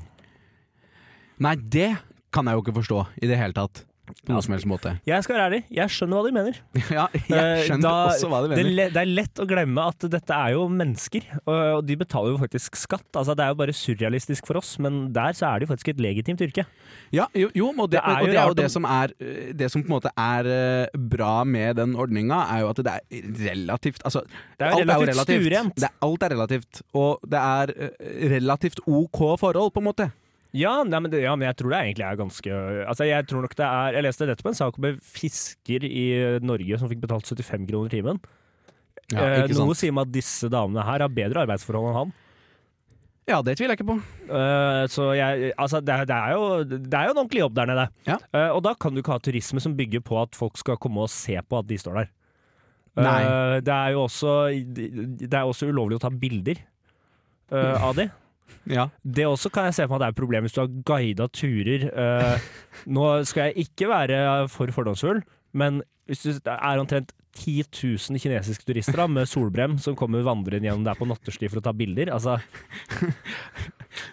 E: Nei, det kan jeg jo ikke forstå i det hele tatt. På noen som helst måte.
B: Jeg skal være ærlig, jeg skjønner hva de mener.
E: Ja, jeg skjønner
B: Eh, Da-
E: også hva du
B: Det, er
E: mener.
B: le- det er lett å glemme at dette er jo mennesker, og, og de betaler jo faktisk skatt. Altså, det er jo bare surrealistisk for oss, men der så er det jo faktisk et legitimt yrke.
E: Ja, jo, jo, og
B: Det
E: det,
B: er jo
E: og det er jo
B: rart
E: det
B: om-
E: som er øh, Det som på en måte er øh, bra med den ordninga, er jo at det er relativt Altså,
B: Det er jo
E: alt er jo
B: relativt
E: relativt.
B: stuerent.
E: Det er, alt er relativt. Og det er øh, relativt OK forhold, på en måte.
B: Ja, nei, men, det, ja, men jeg tror det egentlig er ganske Altså, jeg tror nok det er Jeg leste dette på en sak om en fisker i Norge som fikk betalt 75 kroner timen. eh,
E: ikke
B: noe
E: sant?
B: sier meg at disse damene her har bedre arbeidsforhold enn han.
E: Ja, det tviler jeg ikke på.
B: Eh, så jeg Altså, det, er- det, er jo, det er jo en ordentlig jobb der nede.
E: Ja.
B: Eh, og da kan du ikke ha turisme som bygger på at folk skal komme og se på at de står der.
E: Nei.
B: Eh, det er jo også Det er også ulovlig å ta bilder eh, av de.
E: Ja.
B: Det også kan jeg se for meg at det er et problem hvis du har guida turer. Eh, nå skal jeg ikke være for fordomsfull, men hvis du, det er omtrent 10 000 kinesiske turister da, med solbrem som kommer vandrende gjennom der på nattestid for å ta bilder. Altså,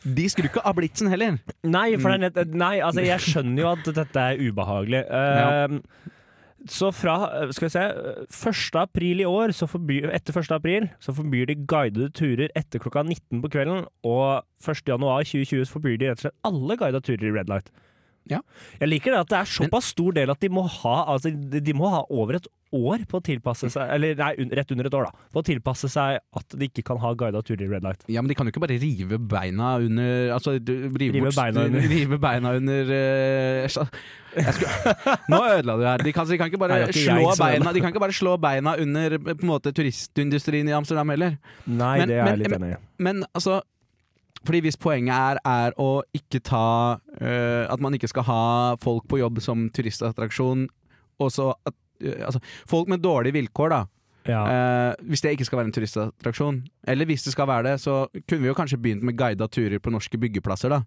E: De skrur ikke av blitsen heller.
B: nei, for det er nett, nei, altså, jeg skjønner jo at dette er ubehagelig. Eh, Så fra eh, skal vi se, eh, 1. april i år, så forbyr, etter 1. april, så forbyr de guidede turer etter klokka 19 på kvelden, og 1. januar 2020 så forbyr de rett og slett alle guidede turer i red light.
E: Ja.
B: Jeg liker det at det er såpass stor del at de må ha, altså, de de må ha over et år på å tilpasse seg, eller nei, un- rett under et år da, på å tilpasse seg at de ikke kan ha guidede turer i red light.
E: Ja, men de kan jo ikke bare rive beina under Altså, du- rive,
B: Rive
E: bort-
B: beina under.
E: Rive beina under eh, jeg skulle, Nå ødela du her. De kan, de kan ikke bare
B: Nei, det var ikke
E: slå
B: jeg som
E: beina De kan ikke bare slå beina under eh, på en måte turistindustrien i Amsterdam heller.
B: Nei,
E: Men-
B: det er
E: men-
B: jeg litt enig i.
E: Men altså fordi Hvis poenget er, er å ikke ta eh, At man ikke skal ha folk på jobb som turistattraksjon og så at, eh, altså, Folk med dårlige vilkår, da.
B: Ja.
E: Eh, hvis det ikke skal være en turistattraksjon. Eller hvis det skal være det, så kunne vi jo kanskje begynt med guida turer på norske byggeplasser, da.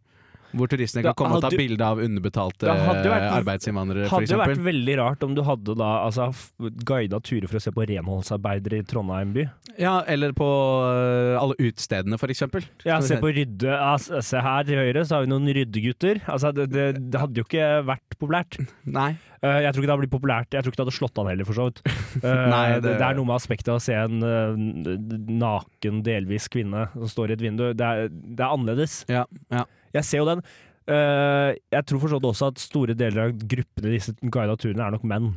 E: Hvor turistene kan
B: Da
E: komme og ta
B: hadde-
E: bilde av underbetalte
B: Det hadde jo vært-
E: eh, arbeidsinnvandrere,
B: Hadde jo vært
E: f.eks.
B: veldig rart om du hadde da altså, f- guida turer for å se på renholdsarbeidere i Trondheim by.
E: Ja, eller på eh, alle utestedene, f.eks.
B: Ja, se på rydde ja, s- Se her til høyre, så har vi noen ryddegutter. Altså, det, det, det hadde jo ikke vært populært.
E: Nei.
B: Eh, jeg tror ikke det hadde blitt populært Jeg tror ikke det hadde slått an heller, for så vidt. Eh,
E: Nei,
B: det...
E: det-
B: er noe med aspektet av å se en eh, naken, delvis kvinne som står i et vindu. Det er, det er annerledes.
E: Ja, ja.
B: Jeg ser jo den. Eh, jeg tror forstått også at store deler av gruppene i disse guida turene er nok menn.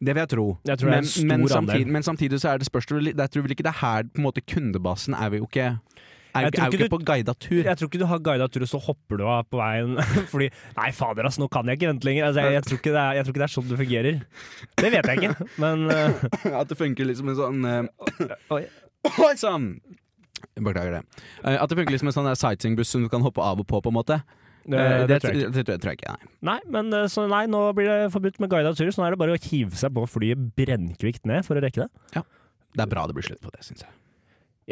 E: Det vil jeg tro.
B: Jeg tror det er en
E: men,
B: stor
E: men,
B: andel.
E: samtidig, men samtidig så er det spørsmål Jeg tror vel ikke det er her på en måte kundebasen er vi jo ikke Er jo
B: Jeg
E: ikke,
B: tror
E: er jo
B: ikke
E: ikke på guida tur.
B: Jeg tror ikke du har guida tur, og så hopper du av på veien fordi Nei, fader, ass, nå kan jeg ikke vente lenger. Altså, jeg, jeg, tror ikke det er, jeg tror ikke det er sånn det fungerer. Det vet jeg ikke, men eh,
E: At det funker liksom en sånn eh,
B: Oi.
E: Oi sann! Beklager det. Eh, At det funker liksom en sånn der sightseeingbuss som du kan hoppe av og på, på en måte.
B: det,
E: Eh,
B: det tror jeg ikke.
E: Det, tror jeg ikke, nei.
B: Nei, men eh, så nei, nå blir det forbudt med guida tur, så nå er det bare å hive seg på flyet brennkvikt ned for å rekke det.
E: Det er bra det blir slutt på det, syns jeg.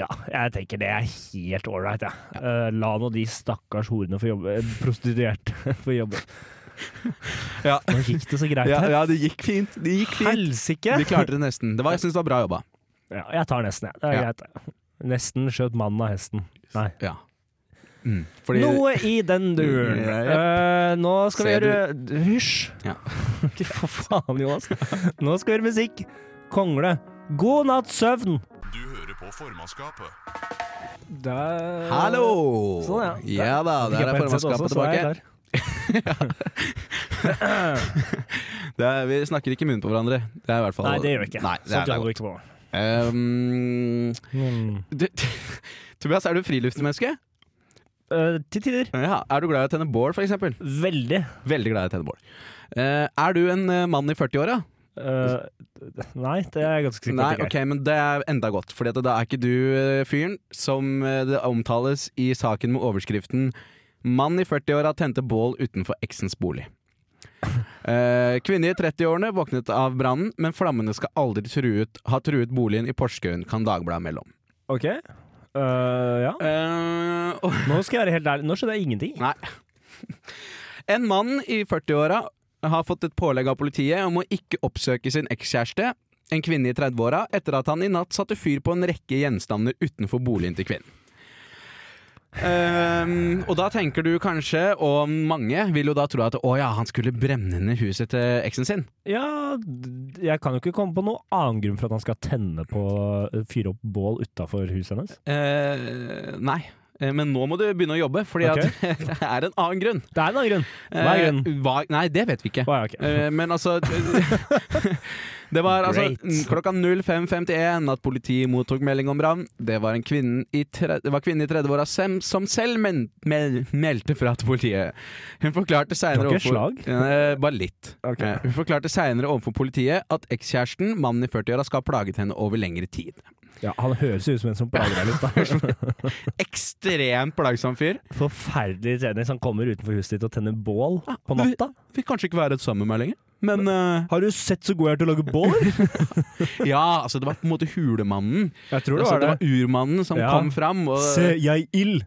B: Ja, jeg tenker det er helt ålreit, jeg. Eh, la nå de stakkars horene få jobbe. eh, Prostituerte få jobbe.
E: Ja.
B: Nå gikk det så greit
E: Ja,
B: her.
E: ja, det gikk fint. Det gikk fint.
B: Helsike!
E: Vi klarte det nesten. Det var, jeg syns det var bra jobba.
B: Ja, jeg tar nesten, jeg. Det er
E: Ja.
B: greit. Nesten skjøt mannen av hesten. Nei.
E: Ja. Mm. Fordi
B: Noe i den duren.
E: Ja,
B: Eh, nå skal vi
E: Ser
B: gjøre Hysj!
E: Ja.
B: Ikke for faen, Jonas. Nå skal vi gjøre musikk. Kongle. God natt, søvn!
A: Du hører på formannskapet.
E: Hallo!
B: Sånn,
E: ja. da, der er formannskapet tilbake. Det er, vi snakker ikke i munnen på hverandre. Det er i hvert fall
B: Nei, det gjør vi ikke.
E: Nei, det
B: Sånt
E: er,
B: holder vi
E: det
B: ikke Mm. på.
E: er godt. Um,
B: med.
E: du, Tobias, er du friluftsmenneske?
B: Eh, til tider.
E: Ja. Er du glad i å tenne bål, for eksempel?
B: Veldig.
E: Veldig glad i å tenne bål. Eh, er du en eh, mann i 40-åra?
B: Eh, nei, det er jeg ganske sikker på.
E: Nei,
B: at jeg
E: ok,
B: ikke er.
E: men det er enda godt, for da er ikke du eh, fyren som eh, det omtales i saken med overskriften 'Mann i 40-åra tente bål utenfor eksens bolig'. Eh, kvinne i 30-årene våknet av brannen, men flammene skal aldri truet, ha truet boligen i Porsgrunn, kan Dagbladet melde om.
B: Ok. Eh, ja.
E: Eh, og,
B: Nå skal jeg være helt ærlig. Nå skjønner jeg ingenting.
E: nei. En mann i 40-åra har fått et pålegg av politiet om å ikke oppsøke sin ekskjæreste, en kvinne i 30-åra, etter at han i natt satte fyr på en rekke gjenstander utenfor boligen til kvinnen. Ehm, og da tenker du kanskje, og mange vil jo da tro at å ja, han skulle brenne ned huset til eksen sin.
B: Ja, d- jeg kan jo ikke komme på noen annen grunn for at han skal tenne på eh, Fyre opp bål utafor huset hennes.
E: Eh, nei. Eh, Men nå må du begynne å jobbe, fordi at det er en annen grunn.
B: Det er en annen grunn. Hva er grunnen?
E: Eh, hva- nei, det vet vi ikke.
B: Å, ja, ok.
E: Eh, men altså Det var altså
B: Great.
E: n- klokka 05.51 at politiet mottok melding om brann. Det var en kvinne i, tre, det var kvinnen i 30-åra sem- som selv men, mel, meldte fra til politiet. Hun forklarte seinere
B: Det var ikke et
E: Eh, Bare litt.
B: Ok.
E: Eh, Hun forklarte senere overfor politiet at ekskjæresten, mannen i 40-åra, skal ha plaget henne over lengre tid.
B: Ja, han høres jo ut som en som plager deg litt. da
E: Ekstremt plagsom fyr.
B: Forferdelig trening som kommer utenfor huset ditt og tenner bål på natta.
E: Vil kanskje ikke være sammen med meg lenger. Men eh,
B: Har du sett så god jeg er til å lage bål?
E: ja, altså det var på en måte hulemannen.
B: Jeg tror det
E: Altså,
B: var
E: det
B: det.
E: var urmannen som
B: Ja.
E: kom fram. Og,
B: jeg ild!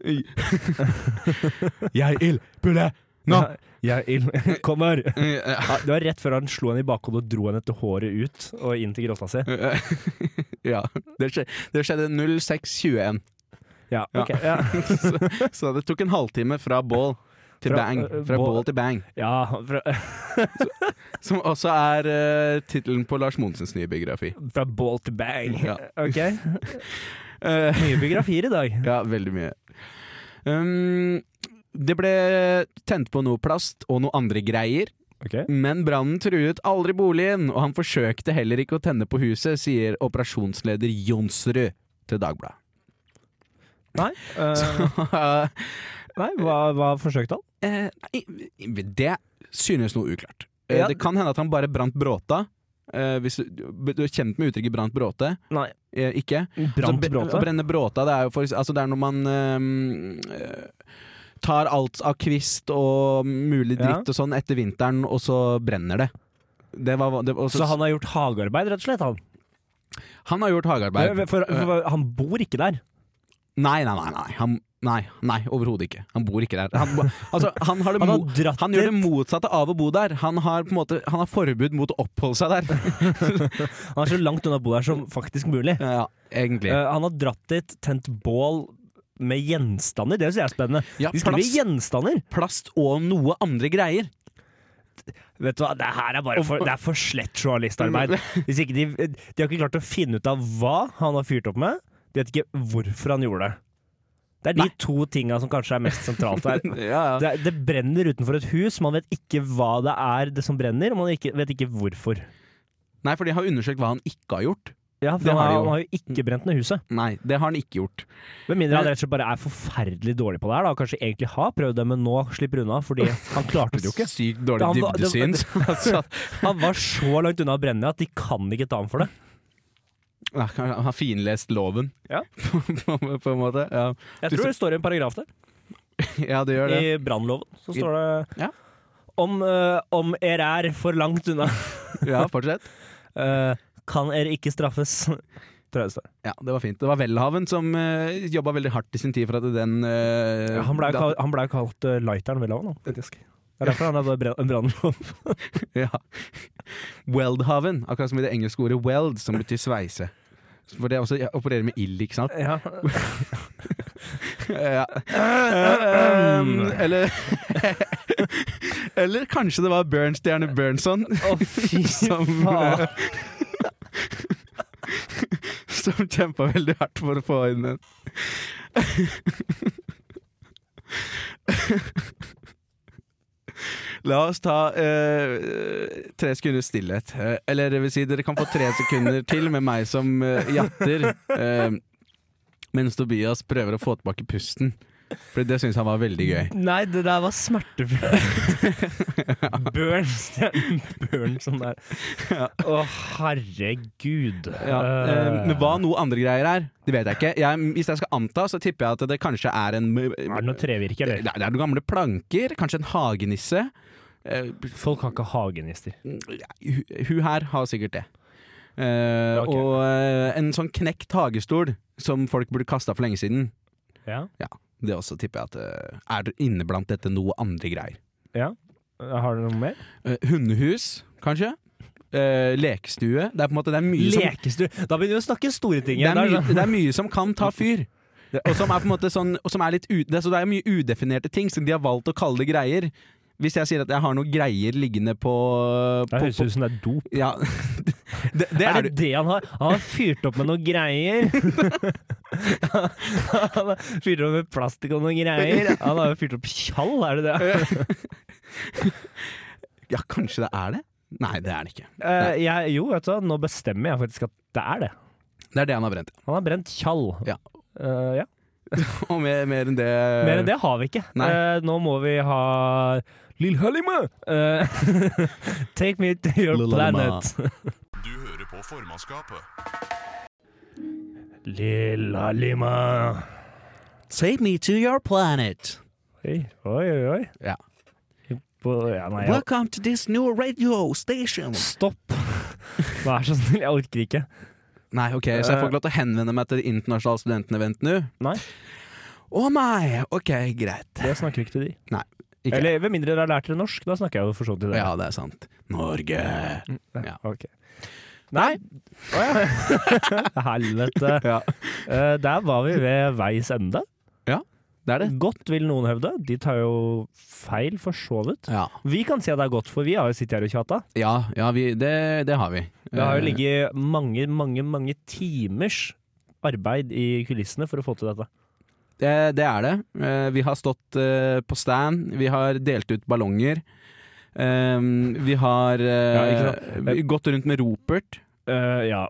E: Jeg ild, Bulle! Nå!
B: Jeg ild. Kom her!
E: Eh,
B: Ja, det var rett før han slo henne i bakhodet og dro henne etter håret ut og inn til grotta si.
E: eh, ja, det skjedde, det skjedde 06.21,
B: Ja,
E: Ja.
B: ok. Ja.
E: så det tok en halvtime fra bål til
B: Fra,
E: bang.
B: eh,
E: Fra
B: bål-
E: bål til bang.
B: ja fra,
E: Som også er uh, tittelen på Lars Monsens nye biografi.
B: fra bål til bang.
E: Ja.
B: Ok.
E: Eh,
B: Mye biografier i dag.
E: ja, veldig mye. Um, det ble tent på noe plast og noe andre greier,
B: Ok.
E: men brannen truet aldri boligen, og han forsøkte heller ikke å tenne på huset, sier operasjonsleder Jonsrud til Dagbladet.
B: Nei, eh, nei hva, hva forsøkte han?
E: Eh, nei, det synes noe uklart. Eh,
B: Ja.
E: Det kan hende at han bare brant bråta. Eh, hvis du, du er kjent med uttrykket 'brant bråte'?
B: Nei.
E: Eh, ikke?
B: Brant
E: Så bre- Å
B: bråta?
E: brenne bråta, det er jo for, eks- altså det er når man ehm, eh, tar alt av kvist og mulig
B: Ja.
E: dritt og sånn etter vinteren, og så brenner det. Det var, det, og så-
B: Så han har gjort hagearbeid, rett og slett? han
E: han har gjort hagearbeid. Eh,
B: For, for, for Han bor ikke der.
E: Nei, nei, nei. nei. Han, nei, nei overhodet ikke. Han bor ikke der. Han, bo- altså, han, har det
B: Han har
E: mo-
B: dratt
E: han gjør det motsatte av å bo der. Han har, på en måte, han har forbud mot å oppholde seg der.
B: Han er så langt unna å bo der som faktisk mulig.
E: Ja, egentlig.
B: Eh, han har dratt dit, tent bål med gjenstander. Det syns jeg er spennende.
E: Ja,
B: De skriver
E: plast.
B: gjenstander!
E: Plast og noe andre greier.
B: Vet du hva, Det her er bare for, det er for slett journalistarbeid. Hvis ikke de, de har ikke klart å finne ut av hva han har fyrt opp med. De vet ikke hvorfor han gjorde det. Det er de
E: Nei.
B: to tinga som kanskje er mest sentralt her.
E: Ja,
B: Det, det brenner utenfor et hus, man vet ikke hva det er det som brenner, og man ikke, vet ikke hvorfor.
E: Nei, for de har undersøkt hva han ikke har gjort.
B: Ja, for
E: Det
B: han,
E: har de
B: har-
E: jo. Mm.
B: han har jo ikke brent ned huset.
E: Nei, det har han ikke gjort.
B: Med mindre han rett og slett bare er forferdelig dårlig på det her, da. Kanskje egentlig har prøvd det, men nå slipper unna fordi han klarte det jo ikke.
E: Sykt
B: Ja,
E: dårlig
B: han var-
E: dybdesyn.
B: det-
E: Altså,
B: Han var så langt unna å brenne at de kan ikke ta ham for det.
E: ja, Han har finlest loven,
B: Ja.
E: på, på, på en måte. Ja.
B: Jeg tror det står i en paragraf der.
E: ja, det gjør det.
B: I brannloven så står det
E: Ja.
B: om, eh, om er er for langt unna,
E: Ja, fortsett.
B: eh, kan er ikke straffes. Tror jeg det står.
E: Ja, det var fint. Det var Welhaven som uh, jobba veldig hardt i sin tid for at den eh,
B: Ja, han ble jo
E: da-
B: kalt, han ble jo kalt eh, lighteren ved laven, faktisk. Det er derfor han hadde brenn- en brannlov.
E: Ja. Weldhaven, akkurat som i det engelske ordet weld, som betyr sveise. For det er også jeg opererer med ild, ikke sant?
B: Ja.
E: Ja. Um, eller Eller kanskje det var Bernstjerne Bernson
B: fy
E: som
B: faen.
E: Som kjempa veldig hardt for å få inn en La oss ta eh, tre sekunders stillhet. Eh, eller det vil si, dere kan få tre sekunder til med meg som eh, jatter. eh, mens Tobias prøver å få tilbake pusten. For det syns han var veldig gøy.
B: Nei, det der var smertefullt. Burns. Burns sånn der. Å, herregud.
E: Ja, eh,
B: Eh,
E: men hva noe andre greier er, det vet jeg ikke. Jeg, hvis jeg skal anta, så tipper jeg at det kanskje er en eh, Det
B: Er det noe trevirke,
E: er
B: eller?
E: det er noen gamle planker, kanskje en hagenisse. Eh,
B: Folk har ikke hagenister.
E: hu- hun her har sikkert det. Eh,
B: Ok.
E: Og eh, en sånn knekt hagestol som folk burde kasta for lenge siden.
B: Ja.
E: Det også tipper jeg at eh, er inne blant dette noe andre greier.
B: Har du noe mer?
E: Eh, hundehus, kanskje? Eh, lekestue. Det er på en måte det er mye som
B: Lekestue. Da sånn- begynner vi å snakke store ting
E: det
B: igjen.
E: er,
B: der,
E: mye, det er mye som kan ta fyr. Og som er på en måte sånn og som er litt u, det, er- så det er mye udefinerte ting, så de har valgt å kalle det greier. Hvis jeg sier at jeg har noe greier liggende på,
B: Det
E: på,
B: høres
E: på
B: ut som det er dop.
E: ja, det, det
B: Er
E: er
B: det
E: du.
B: det han har? Han har fyrt opp med noen greier. Han har fyrt opp med plastikk og noen greier. Han har jo fyrt opp tjall, er det det?
E: Ja, kanskje det er det? Nei, det er det ikke.
B: Eh, jeg, jo, vet du hva, nå bestemmer jeg faktisk at det er det.
E: Det er det han har brent.
B: Han har brent tjall.
E: Ja.
B: Eh, ja.
E: Og mer, mer enn det
B: Mer enn det har vi ikke.
E: Nei.
B: Eh, nå må vi ha Lill Hallima! Eh, take me to your
E: Lil Hallima.
B: planet.
A: Du hører på formannskapet.
B: Lill Hallima.
E: Take me to your planet.
B: Oi, oi, oi. oi.
E: Ja.
B: På, ja, nei, jeg,
E: Welcome to this new radio station.
B: stopp! Vær så snill, jeg orker ikke.
E: Nei, ok, så jeg får ikke lov til å henvende meg til det internasjonale studentevent nå?
B: Nei.
E: Å nei, ok, greit.
B: Det snakker ikke til de.
E: Nei, ikke.
B: Eller ved mindre dere har lært dere norsk, da snakker jeg jo for så vidt til dere.
E: Ja, det er sant. Norge. ja.
B: Ok. Nei! Å ja. Helvete.
E: Ja,
B: Eh, der var vi ved veis ende.
E: det er det.
B: Godt vil noen hevde. De tar jo feil, for så vidt.
E: Ja,
B: Vi kan si at det er godt, for vi har jo sittet her og tjata.
E: ja, ja vi, det, det har vi.
B: Det har jo
E: Eh.
B: ligget mange, mange, mange timers arbeid i kulissene for å få til dette.
E: Det, det er det. Eh, Vi har stått eh, på stand, vi har delt ut ballonger. Eh, vi har eh,
B: Ja, ikke sant?
E: vi- gått rundt med ropert.
B: Eh, ja.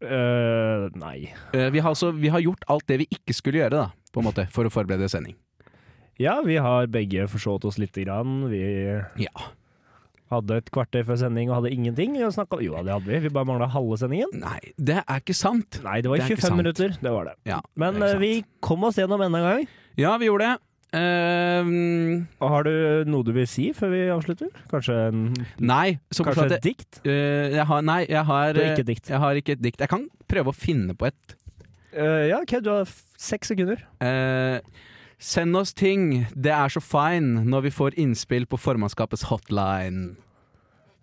B: Eh, nei.
E: Eh, vi, har altså, vi har gjort alt det vi ikke skulle gjøre, da, på en måte, for å forberede sending.
B: Ja, vi har begge forsått oss lite grann. Vi
E: Ja.
B: hadde et kvarter før sending og hadde ingenting å snakke om. Jo da, det hadde vi. Vi bare mangla halve sendingen.
E: Nei, det er ikke sant.
B: Nei, det var
E: Det er ikke
B: 25
E: sant.
B: minutter. Det var det.
E: Ja,
B: Men
E: det er ikke
B: eh, vi
E: sant.
B: kom oss gjennom enda en gang.
E: Ja, vi gjorde det. Ehm,
B: Og har du noe du vil si før vi avslutter? Kanskje, en,
E: nei, så
B: kanskje
E: kanskje
B: et dikt?
E: jeg har, Nei, jeg har
B: Du har ikke
E: eh,
B: et dikt.
E: Jeg har ikke et dikt. Jeg kan prøve å finne på et.
B: Eh, ja, OK, du har f- seks sekunder.
E: Eh, send oss ting, det er så fine når vi får innspill på formannskapets hotline.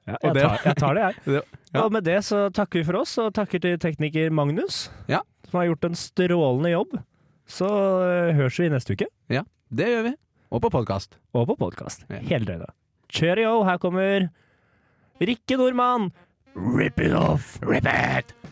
B: Ja, jeg,
E: og det-
B: tar, jeg tar det, jeg.
E: Det- ja.
B: Og med det så takker vi for oss, og takker til tekniker Magnus,
E: Ja.
B: som har gjort en strålende jobb. Så eh, høres vi neste uke,
E: Ja, det gjør vi. Og på podkast.
B: og på podkast.
E: Ja.
B: Hele døgnet. Cheerio, her kommer Rikke Nordmann! Rip it off! Rip it!